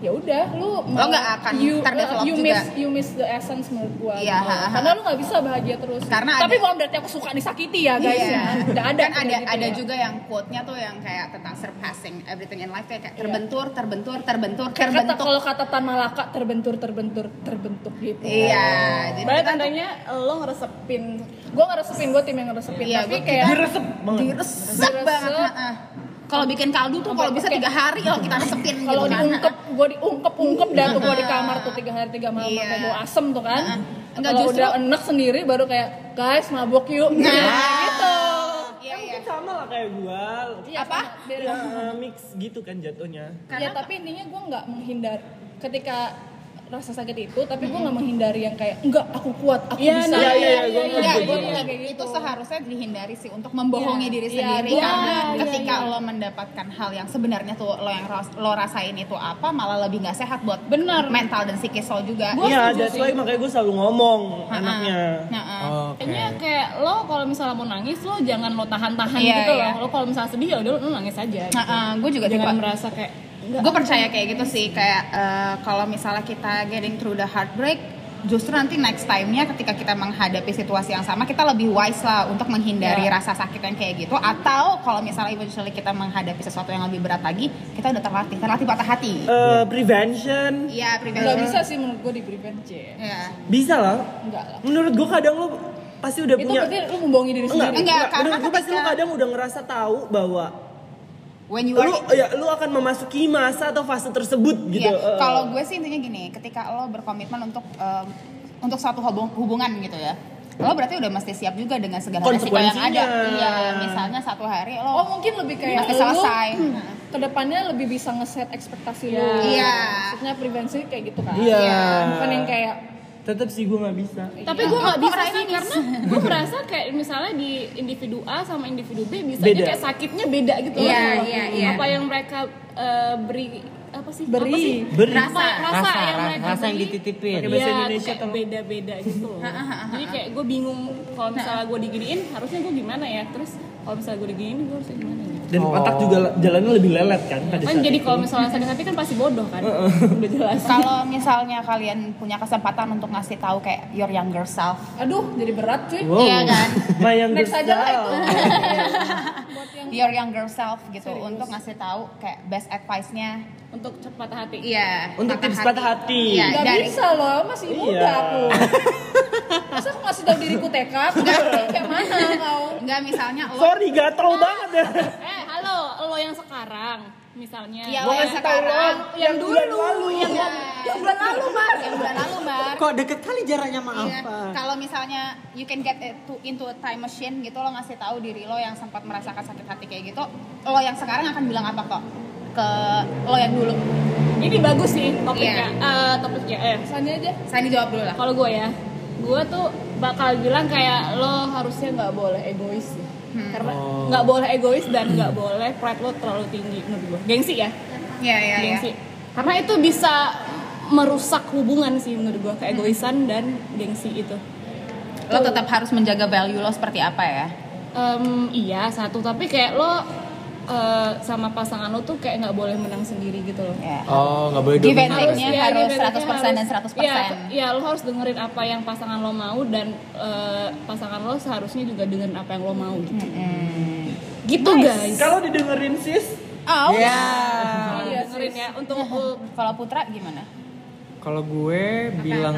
ya udah lu
Lo nggak akan terdevelop
you
juga.
miss you miss the essence menurut gua.
Iya,
gitu.
ha, ha.
Karena lu nggak bisa bahagia terus.
Karena
Tapi
ada-
bukan berarti aku suka disakiti ya, guys
Iya.
ya. Nggak ada.
kan ada
kayak gitu
ada
ya.
juga yang quote-nya tuh yang kayak tentang surpassing everything in life kayak, kayak
Iya.
terbentur, terbentur, terbentur,
Kayak kata
terbentuk.
kalau kata Tan Malaka terbentur terbentur terbentuk gitu.
Iya,
Berarti
jadi kita tuh-
tandanya lo ngeresepin
Gua ngeresepin, gua tim yang ngeresepin.
Iya,
Tapi
gua-
kayak
Diresep banget.
diresep
Diresep.
banget. heeh. Kalau bikin kaldu tuh kalau bisa tiga hari kalau kita resepin gitu
kalau
kan.
diungkep gue diungkep ungkep dah tuh gue di kamar tuh tiga hari tiga malam
Iya.
yeah. bau asem tuh kan
Heeh. Enggak,
kalau
justru-
udah enak sendiri baru kayak guys mabok yuk
Nah,
gitu
Iya, iya.
Sama lah kayak gua.
apa
Ya, mix gitu kan jatuhnya.
ya tapi intinya gue nggak menghindar ketika rasa sakit itu tapi gue nggak menghindari yang kayak enggak aku kuat aku
Iya,
bisa
nah,
iya, iya, gua
Iya,
Enggak,
iya,
itu,
iya, kayak
itu
gitu.
seharusnya dihindari sih untuk membohongi
Iya.
diri
Iya,
sendiri
iya,
karena
iya,
ketika lo mendapatkan hal yang sebenarnya tuh lo yang ras- lo rasain itu apa malah lebih nggak sehat buat
Benar.
mental dan psikis lo juga.
Iya, that's why makanya gue selalu ngomong
Heeh.
anaknya.
Heeh.
Oke.
Kayaknya kayak lo kalau misalnya mau nangis lo jangan lo tahan-tahan
Iya,
gitu
iya.
loh. Lo kalau misalnya sedih ya udah lo nangis aja. gitu.
gue juga
Jangan
tipe
merasa kayak enggak.
gue percaya kayak gitu sih kayak eh, kalau misalnya kita getting through the heartbreak justru nanti next time-nya ketika kita menghadapi situasi yang sama kita lebih wise lah untuk menghindari
Iya.
rasa sakit yang kayak gitu atau kalau misalnya eventually kita menghadapi sesuatu yang lebih berat lagi kita udah terlatih terlatih patah hati
Eh, prevention
iya
nggak
prevention
bisa sih menurut gue di prevent C
Iya.
bisa lah.
enggak lah
Menurut gue kadang lo pasti udah
itu
punya
berarti lu membohongi diri
enggak,
sendiri
Enggak, karena
Menurut gue pasti lo
ketika-
kadang udah ngerasa tahu bahwa
when you
lu
are
ya lu akan memasuki masa atau fase tersebut gitu.
Iya,
Eh,
kalau gue sih intinya gini, ketika lo berkomitmen untuk em, untuk suatu hubung- hubungan gitu ya, lo berarti udah mesti siap juga dengan segala resiko yang ada.
Konsekuensinya.
Iya, misalnya satu hari
oh
lo
mungkin lebih
Pasti
kayak lu
selesai.
kedepannya lebih bisa ngeset ekspektasi lu
Iya.
maksudnya prevensi kayak gitu kan
Iya.
bukan yang kayak
tetap sih gue nggak bisa.
Tapi
Iya.
gue nggak bisa sih karena gue merasa kayak misalnya di individu A sama individu B bisa
Beda.
kayak sakitnya beda gitu
Iya,
loh.
iya, iya.
Apa yang mereka eh, beri apa sih?
Beri.
Apa sih?
Beri.
Apa, rasa,
Rasa,
yang
ra-
mereka
rasa yang
beri.
dititipin.
Iya,
Pakai bahasa
tuh
Indonesia
kayak
tolong.
beda-beda gitu loh. Jadi kayak gue bingung kalau misalnya gue diginiin harusnya gue gimana ya? Terus kalau misalnya gue diginiin gue harusnya gimana ya?
Dan otak juga la- jalannya lebih lelet kan pada
Kan
saat
jadi
itu.
kalau misalnya sakit hati kan pasti bodoh kan. Udah jelas.
kalau misalnya kalian punya kesempatan untuk ngasih tahu kayak your younger self,
aduh jadi berat cuy
Wow.
Iya kan?
My younger
next aja Eh, lah
self.
itu
your younger self gitu untuk ngasih tahu kayak best advice-nya.
Untuk cepat hati.
Iya.
Untuk tips patah hati.
Iya,
Gak
dari
bisa loh, masih
Iya.
muda aku Masa aku ngasih tau diriku TK, aku kayak mana kau
enggak misalnya lo
Sorry gatel banget ya.
Eh, halo, lo yang sekarang misalnya.
Iya, lo
Gue
yang
ngasih tau lo
sekarang
yang bulan lalu.
yang yang bulan lalu, Mar. Yang bulan lalu, Mar.
Kok deket kali jaraknya sama
Iya,
apa?
kalau misalnya you can get it to- into a time machine gitu lo ngasih tahu diri lo yang sempat merasakan sakit hati kayak gitu, lo yang sekarang akan bilang apa kok ke lo yang dulu?
Ini bagus sih
Iya.
topiknya. Eh, topiknya eh
Pesannya aja
Saya dijawab dulu lah.
kalau gue ya. Gue tuh bakal bilang kayak lo harusnya nggak boleh egois sih.
Hmm.
Karena
Oh.
nggak boleh egois dan nggak boleh pride lo terlalu tinggi menurut gue. Gengsi
Iya,
ya,
iya, iya.
gengsi. Karena itu bisa merusak hubungan sih menurut gue keegoisan dan gengsi itu.
Lo tetap harus menjaga value lo seperti apa ya?
Em, iya satu tapi kayak lo eh, sama pasangan lo tuh kayak nggak boleh menang sendiri gitu loh.
Ya.
Oh, nggak boleh
Give and
dominan.
take. Harus-
ya,
harus
di bedanya
100% dan
harus-
100%.
Iya, iya, lo harus dengerin apa yang pasangan lo mau dan eh, pasangan lo seharusnya juga dengerin apa yang lo mau gitu. Gitu guys.
Kalau didengerin sis,
Oh.
Iya.
Kalau dengerin ya untuk
Kalau Putra gimana?
Kalau gue bilang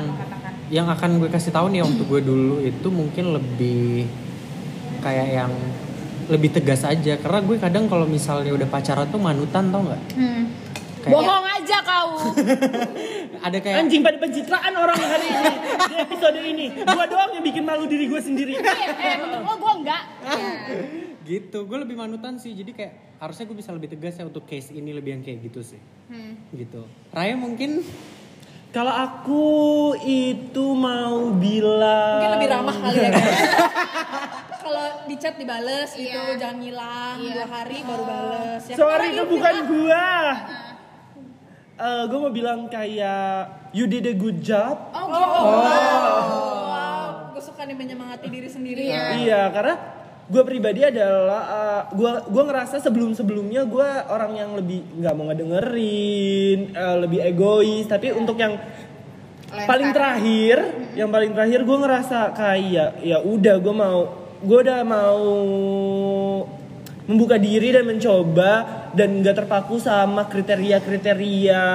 yang akan gue kasih tahu nih waktu gue dulu itu mungkin lebih kayak yang lebih tegas aja karena gue kadang kalau misalnya udah pacaran tuh manutan tau nggak? Kayak
bohong aja kau.
ada kayak
anjing pada pencitraan orang hari ini di episode ini. Gua doang yang bikin malu diri gue sendiri.
Iya.
eh, menurut lo bohong nggak?
gitu gue lebih manutan sih jadi kayak harusnya gue bisa lebih tegas ya untuk case ini lebih yang kayak gitu sih
Hmm.
gitu Raya mungkin
Kalau aku itu mau bilang
Iya. Mungkin lebih ramah kali ya guys kalau di chat dibales gitu,
Iya.
jangan ngilang
Iya.
dua hari baru bales. Ya,
Sorry
karena
itu
ini
bukan gua. Eh gua mau bilang kayak you did a good job.
Oh, gitu.
Wow, gue suka nih menyemangati diri sendiri.
Iya.
Iya, karena gue pribadi adalah eh, gua gua ngerasa sebelum sebelumnya gua orang yang lebih nggak mau ngedengerin, eh, lebih egois.
Iya.
Tapi untuk yang
Lain
paling
sekarang.
terakhir, yang paling terakhir gue ngerasa kayak ya udah gue mau, gue udah mau membuka diri dan mencoba dan nggak terpaku sama kriteria-kriteria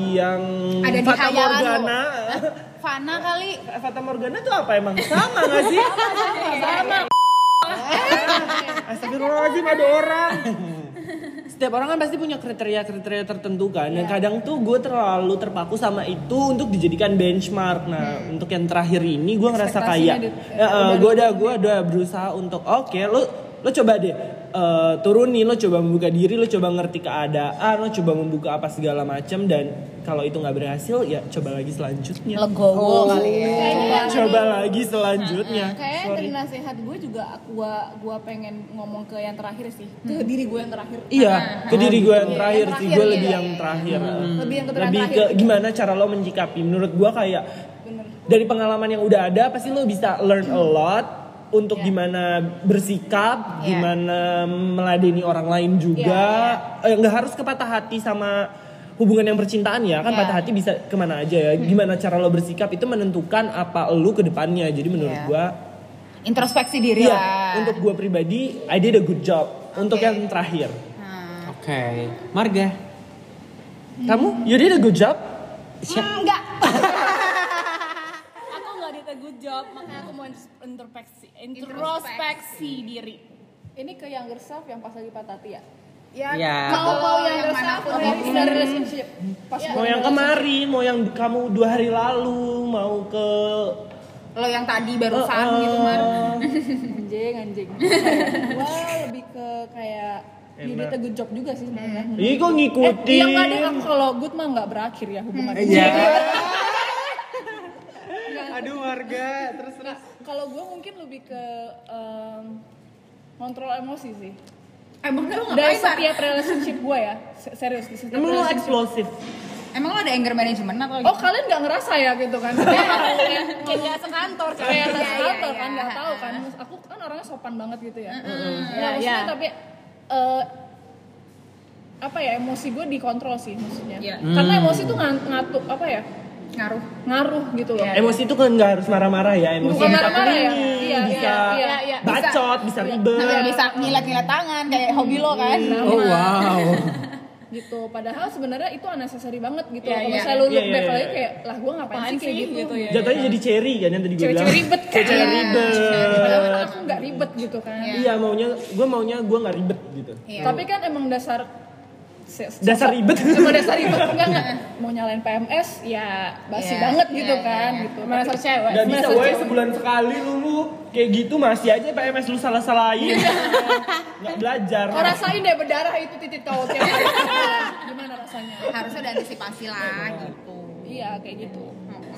yang
Ada di
Fata
hayalan lo.
Morgana.
Fana kali.
Fata Morgana tuh apa emang sama gak sih?
sama
Astagfirullahaladzim ada orang Setiap orang kan pasti punya kriteria-kriteria tertentu kan Dan kadang tuh gue terlalu terpaku sama itu untuk dijadikan benchmark Nah untuk yang terakhir ini gue ngerasa
Ekspektasinya
kayak
di-
Gue udah, ya? gua udah berusaha untuk oke lo, lo coba deh eh, turunin, lo coba membuka diri, lo coba ngerti keadaan, lo coba membuka apa segala macam dan kalau itu nggak berhasil ya coba lagi selanjutnya.
legowo
Oh,
kali ya
Coba lagi selanjutnya.
Kayaknya
Sorry.
dari nasihat gue juga gua gua pengen ngomong ke yang terakhir sih, ke diri gue yang terakhir.
Iya, ke diri gue yang terakhir ya,
yang
sih,
terakhir,
gue
iya,
lebih
iya,
yang
iya.
terakhir. Hmm.
Lebih yang ke terakhir.
Lebih ke gimana cara lo menyikapi. Menurut gue kayak dari pengalaman yang udah ada, pasti lo bisa learn a lot untuk gimana bersikap,
Iya.
gimana meladeni orang lain juga. Eh, Nggak harus kepatah hati sama hubungan yang percintaan ya kan
Iya.
patah hati bisa kemana aja ya gimana cara lo bersikap itu menentukan apa lo ke depannya jadi menurut
Iya.
gua
Introspeksi diri
Ya. iya
lah.
untuk gua pribadi I did a good job untuk yang terakhir
Hmm.
Oke, Marga.
Kamu, you did a Ya, good job.
Hmm, enggak.
aku nggak did a good job makanya aku mau introspeksi introspeksi diri
Ini ke younger self yang pas lagi patah hati ya.
Iya.
Mau mau yang
Younger
mana
self,
aku
rilis
ngomong.
dan relationship. Pas
Mau yang kemarin, mau yang kamu dua hari lalu, mau ke eh,
Lo yang tadi barusan
Oh,
gitu Mar.
anjing anjing. Wah lebih ke kayak you did a good job juga sih sebenarnya.
Ih kok
Eh,
ngikutin?
yang kadang aku kalau good mah nggak berakhir ya hubungan.
Hmm.
Aduh Marga, terus
Nah, kalau gue mungkin lebih ke em, kontrol emosi sih.
Emang lo ngapain
Dari
Mar?
setiap relationship gue ya, se- serius di setiap
Emang lo
relationship.
eksplosif.
Emang lo ada anger management atau
Oh kalian nggak ngerasa ya gitu kan? Saya nggak tahu ya.
kayak sekantor
Kayak
Iya, iya,
nggak tahu
iya.
kan, nggak tahu kan. Terus Aku kan orangnya sopan banget gitu ya.
Iya,
Nah, maksudnya
iya.
tapi eh, apa ya emosi gue dikontrol sih maksudnya.
Iya.
Karena emosi tuh ngan- ngatu apa ya
ngaruh?
ngaruh gitu
Iya,
loh.
Emosi itu kan nggak harus marah-marah ya. Emosi
Bukan
bisa
marah-marah ya?
keringin,
Iya,
bisa
iya, iya,
iya.
bacot, bisa ribet.
Sampai bisa ngilat-ngilat tangan kayak hobi lo kan.
Oh wow.
gitu padahal sebenarnya itu unnecessary banget gitu
Iya,
kalau
iya.
misalnya lu
Iya,
look
iya,
back
iya.
lagi kayak lah gue ngapain
Apaan
sih kayak
sih?
gitu,
Gitu ya.
Jatuhnya jadi cherry kan yang tadi gue bilang.
cewek-cewek ribet kan
Cewek-cewek
Iya.
padahal
ribet.
kan aku nggak ribet gitu kan
Iya maunya, gue maunya gue nggak ribet gitu.
Iya.
tapi kan emang dasar se- se-
Dasar ribet.
emang dasar ribet enggak enggak mau nyalain PMS ya basi
Iya,
banget
iya,
gitu
iya,
kan
iya.
gitu merasa cewek
Gak bisa
merasa
woy
cewek.
sebulan sekali lu, lu kayak gitu masih aja PMS lu salah-salahin.
Iya.
Gak belajar.
Oh, rasain deh berdarah itu titik kautnya gimana rasanya
Harusnya udah antisipasi lah gitu.
iya kayak gitu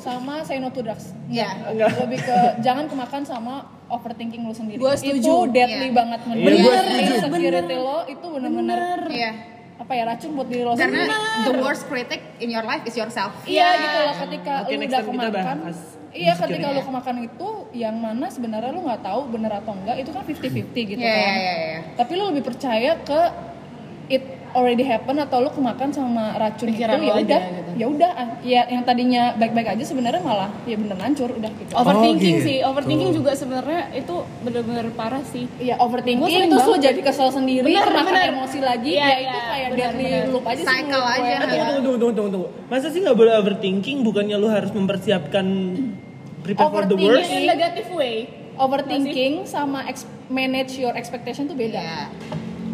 sama say no to drugs
Iya.
Enggak.
lebih ke jangan kemakan sama overthinking lu sendiri.
Gua
Itu
setuju.
deadly
Iya.
banget
Iya, gua setuju.
Insecurity lo itu benar-benar
Iya.
apa ya racun buat diri lo
Karena
sendiri.
the worst critic in your life is yourself.
Iya gitu loh ketika
Oke,
lu
next
udah
time kita
kemakan.
bahas
Iya ketika lu kemakan itu yang mana sebenarnya lu nggak tahu bener atau enggak itu kan 50-50 gitu
Iya, iya,
kan.
iya, iya.
Tapi lu lebih percaya ke it already happen atau lu kemakan sama racun
Pikiran
itu ya
lo aja
udah
gitu.
ya udah ah, ya yang tadinya baik-baik aja sebenarnya malah ya bener hancur udah gitu.
overthinking
gitu.
sih overthinking juga sebenarnya itu bener-bener parah sih
Iya
Gua
overthinking
sering
terus lu
banget.
jadi kesel sendiri,
Bener,
kemakan
bener.
emosi lagi,
Iya,
ya itu
iya,
kayak
bener,
deadly
bener. Iya
loop aja sih
Cycle
menurut gue.
aja.
Eh, tunggu, tunggu, tunggu, tunggu, tunggu. Masa sih nggak boleh overthinking? Bukannya lu harus mempersiapkan prepare for the
Iya,
Overthinking.
worst?
in a negative way
Overthinking sama ex- manage your expectation tuh beda.
Iya.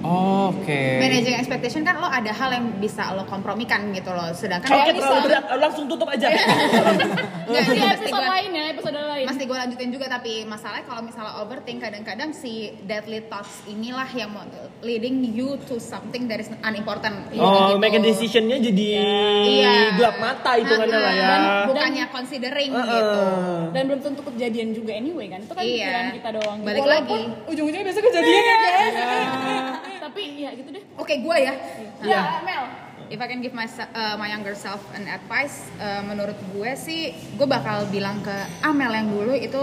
Oh, Oke.
managing expectation kan lo ada hal yang bisa lo kompromikan gitu loh sedangkan
Oke,
kalau
terlalu
misal- Iya.
berat. Eh, Langsung tutup aja.
Nggak,
Ini
ini mesti
episode
gua-
lain ya, episode lain.
Mesti gue lanjutin juga tapi masalahnya kalau misalnya overthink kadang-kadang si deadly thoughts inilah yang mau leading you to something that is unimportant.
Oh,
Gitu.
make a decision-nya jadi
Iya.
gelap mata itu kan
Nah,
lah ya.
dan Bukannya considering
Heeh.
gitu.
Dan belum tentu kejadian juga anyway kan. Itu kan
Iya.
pikiran kita doang.
Balik
Walaupun
lagi.
ujung-ujungnya biasa kejadian ya
Iya.
guys.
Tapi ya gitu deh.
Oke, gue ya.
Iya.
Mel.
If I can give my se- uh, my younger self an advice, uh, menurut gue sih gue bakal bilang ke Amel yang dulu itu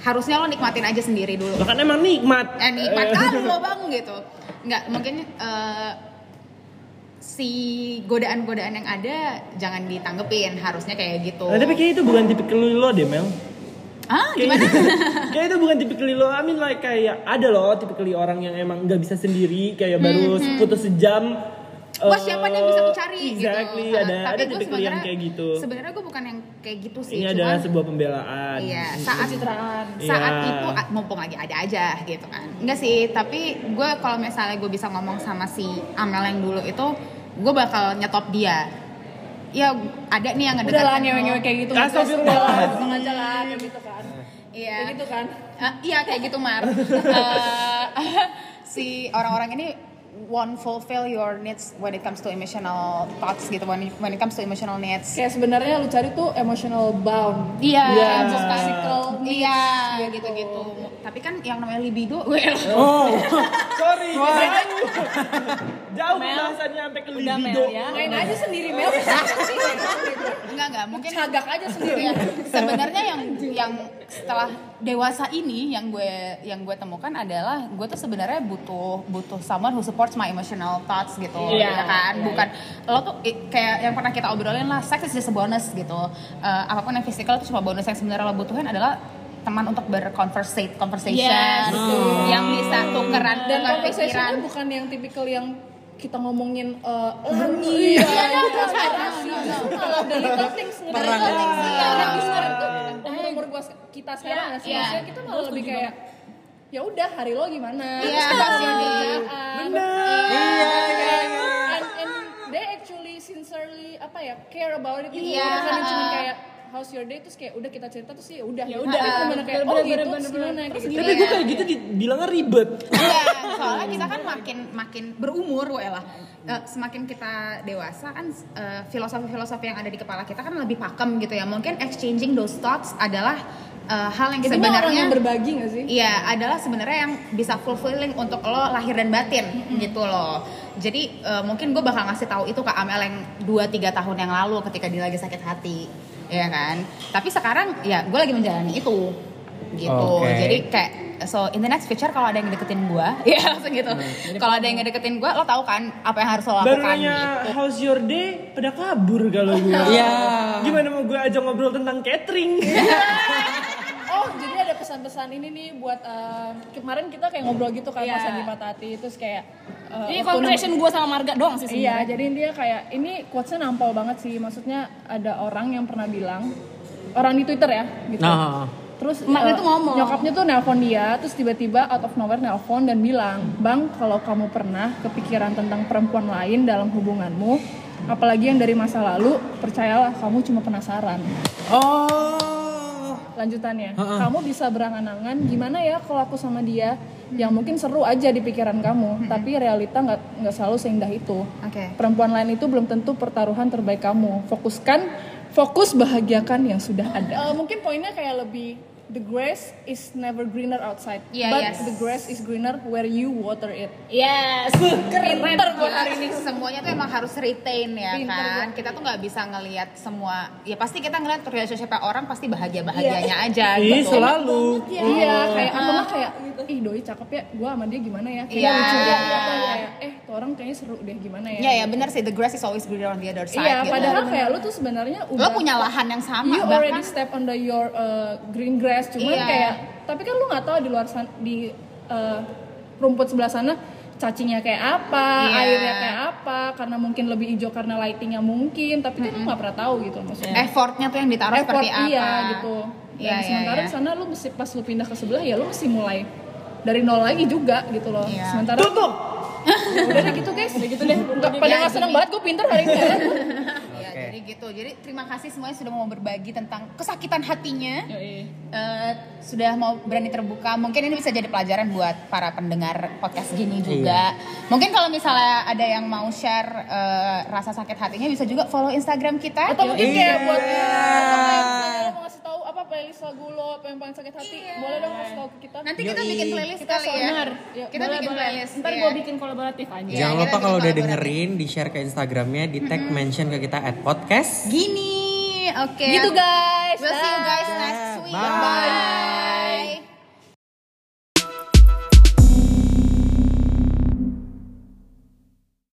harusnya lo nikmatin aja sendiri dulu.
Bahkan emang nikmat.
eh nikmat kan lo bang gitu nggak mungkin eh, si godaan-godaan yang ada jangan ditanggepin harusnya kayak gitu
Nah, tapi kayaknya itu bukan tipikal lo deh, Mel.
ah
Kayak gitu.
gimana
kayak itu bukan tipikal lo. I mean like kayak ada loh tipikal orang yang emang nggak bisa sendiri, kayak baru putus sejam.
Hmm, Wah
eh,
siapa nih yang bisa mencari
exactly,
gitu
ada
Tapi
ada
gue
tipikal yang
sebenarnya-
kayak gitu.
sebenarnya gue bukan yang kayak gitu sih
Ini
cuman-
adalah sebuah pembelaan. Hmm.
Iya, saat saat
Iya.
itu ah, mumpung lagi ada aja gitu kan. Enggak sih, tapi gue kalau misalnya gue bisa ngomong sama si Amel yang dulu itu, gue bakal nyetop dia. Ya ada nih yang
Udah lah
ngedeketin lo.
ngewe-ngewe kayak gitu.
Astagfirullahaladzim.
Ngomong aja lah kayak gitu kan.
Iya.
Kayak gitu kan.
Eh, iya kayak gitu Mar. Eh, si orang-orang ini won't fulfill your needs when it comes to emotional thoughts gitu when it, when it comes to emotional needs.
Kayak sebenarnya lu cari tuh emotional bound.
Iya,
Iya.
Just physical needs.
iya gitu-gitu. Tapi kan yang namanya libido, well,
Oh.
Sorry, jauh. Jauh pembahasannya sampai ke
Udah Mel
libido.
ya.
Main aja sendiri Mel.
enggak enggak mungkin
Cagak aja sendiri.
Iya. sebenarnya yang yang setelah dewasa ini yang gue yang gue temukan adalah gue tuh sebenarnya butuh butuh someone who supports my emotional thoughts gitu
Iya.
ya kan bukan lo tuh i- kayak yang pernah kita obrolin lah sex is just a bonus gitu Eh, apapun yang physical itu cuma bonus yang sebenarnya lo butuhin adalah teman untuk berconversate conversation
Yes.
yang bisa tukeran
Dan
dengan pikiran
conversationnya bukan yang tipikal yang kita ngomongin eh lami ya, malah iya." dari things dari
Perang.
things iya, orang di sekarang tuh umur umur gua se- kita sekarang nggak sih
Iya.
maksudnya kita malah lebih kayak ya udah hari lo gimana
Iya, pasti
Terus kita
lebih.
Iya,
kerjaan.
iya, iya.
and, and they actually sincerely apa ya care about it gitu
Iya.
bukan yang cuma kayak how's your day terus kayak udah kita cerita terus ya udah
Ya
Tapi
udah.
kita bener kayak oh
Bener-bener,
gitu terus
bener-bener.
gimana
Terus
Kayak gitu.
Tapi gue kayak gitu dibilangnya ribet.
Iya, soalnya kita kan makin makin berumur, lah. semakin kita dewasa kan eh, filosofi-filosofi yang ada di kepala kita kan lebih pakem gitu ya. Mungkin exchanging those thoughts adalah eh, hal yang
Kita mah orang
sebenarnya
yang berbagi gak sih
Iya, adalah sebenarnya yang bisa fulfilling untuk lo lahir dan batin gitu loh. Jadi eh, mungkin gue bakal ngasih tahu itu ke Amel yang 2-3 tahun yang lalu ketika dia lagi sakit hati, ya kan. Tapi sekarang ya gue lagi menjalani itu gitu.
Oke.
Jadi kayak so in the next future kalau ada yang deketin gue, ya langsung gitu. Kalau ada yang deketin gue, lo tahu kan apa yang harus lo lakukan
Nah, Baru nanya
gitu.
how's your day, pada kabur kalau gue.
Iya.
Gimana mau gue ajak ngobrol tentang catering?
Iya.
Oh, jadi ada pesan-pesan ini nih buat eh, kemarin kita kayak ngobrol gitu kan
Iya.
Mas Andi Patati terus kayak eh,
Ini
waktu
conversation gue sama Marga doang sih
nem- Iya,
sebenarnya.
jadi dia kayak ini quotes-nya nampol banget sih. Maksudnya ada orang yang pernah bilang orang di Twitter ya gitu.
Nah.
Terus
Emaknya
eh,
tuh ngomong.
Nyokapnya tuh nelpon dia, terus tiba-tiba out of nowhere nelpon dan bilang, "Bang, kalau kamu pernah kepikiran tentang perempuan lain dalam hubunganmu, apalagi yang dari masa lalu, percayalah kamu cuma penasaran."
Oh.
lanjutannya kamu bisa berangan-angan gimana ya kalau aku sama dia yang mungkin seru aja di pikiran kamu tapi realita nggak nggak selalu seindah itu
Oke.
perempuan lain itu belum tentu pertaruhan terbaik kamu fokuskan fokus bahagiakan yang sudah ada Eh, mungkin poinnya kayak lebih the grass is never greener outside
Iya,
but
yes.
the grass is greener where you water it
Yes. Keren
Gua hari ini semuanya tuh emang harus retain ya kan kita tuh nggak bisa ngelihat semua ya pasti kita ngelihat relationship orang pasti bahagia bahagianya aja
Ih,
gitu
selalu.
Iya, kayak aku mah kayak ih doi cakep ya, gua sama dia gimana ya? Kayak
Iya.
lucu ya, atau kayak eh tuh orang kayaknya seru deh gimana ya?
ya ya benar sih the grass is always greener on the other side
Iya,
gitu.
padahal kayak lu tuh sebenarnya
lo
udah
punya lahan yang sama
you already
bahkan
step on the your uh, green grass, cuman
Iya.
kayak tapi kan lu nggak tahu di luar sana di uh, rumput sebelah sana cacingnya kayak apa,
Iya.
airnya kayak apa, karena mungkin lebih hijau karena lightingnya mungkin, tapi kan lu nggak pernah tahu gitu maksudnya.
effortnya tuh yang ditaruh
Effort
Eh, seperti apa
iya gitu. Dan
Iya, iya,
sementara
iya.
sana lu mesti pas lu pindah ke sebelah ya lu mesti mulai dari nol lagi juga gitu loh.
Iya.
Sementara
Tutup.
udah deh gitu guys, udah gitu deh. Nggak,
Jadi
pada nggak
aja.
seneng banget gue pinter hari ini. ya.
Iya, jadi gitu. Jadi terima kasih semuanya sudah mau berbagi tentang kesakitan hatinya.
Yoi.
Eh, sudah mau berani terbuka. Mungkin ini bisa jadi pelajaran buat para pendengar podcast gini juga. Mungkin kalau misalnya ada yang mau share eh, rasa sakit hatinya bisa juga follow Instagram kita.
Atau mungkin kayak
Iya.
buat atau kayak misalnya lo mau ngasih tahu apa playlist lagu lo apa yang paling sakit hati, boleh dong kasih tahu ke kita.
Nanti kita bikin playlist
Kita
kali ya.
sonar. Yuk,
Kita
Boleh,
bikin
boleh.
playlist.
Ntar
ya.
gue bikin kolaboratif aja.
Iya, kita
Jangan lupa
bikin
kalau udah
kolaborasi. Hmm.
dengerin di share ke Instagramnya, di tag mention ke kita at podcast.
Gini. Oke.
Gitu guys.
We'll see you guys next week. Bye.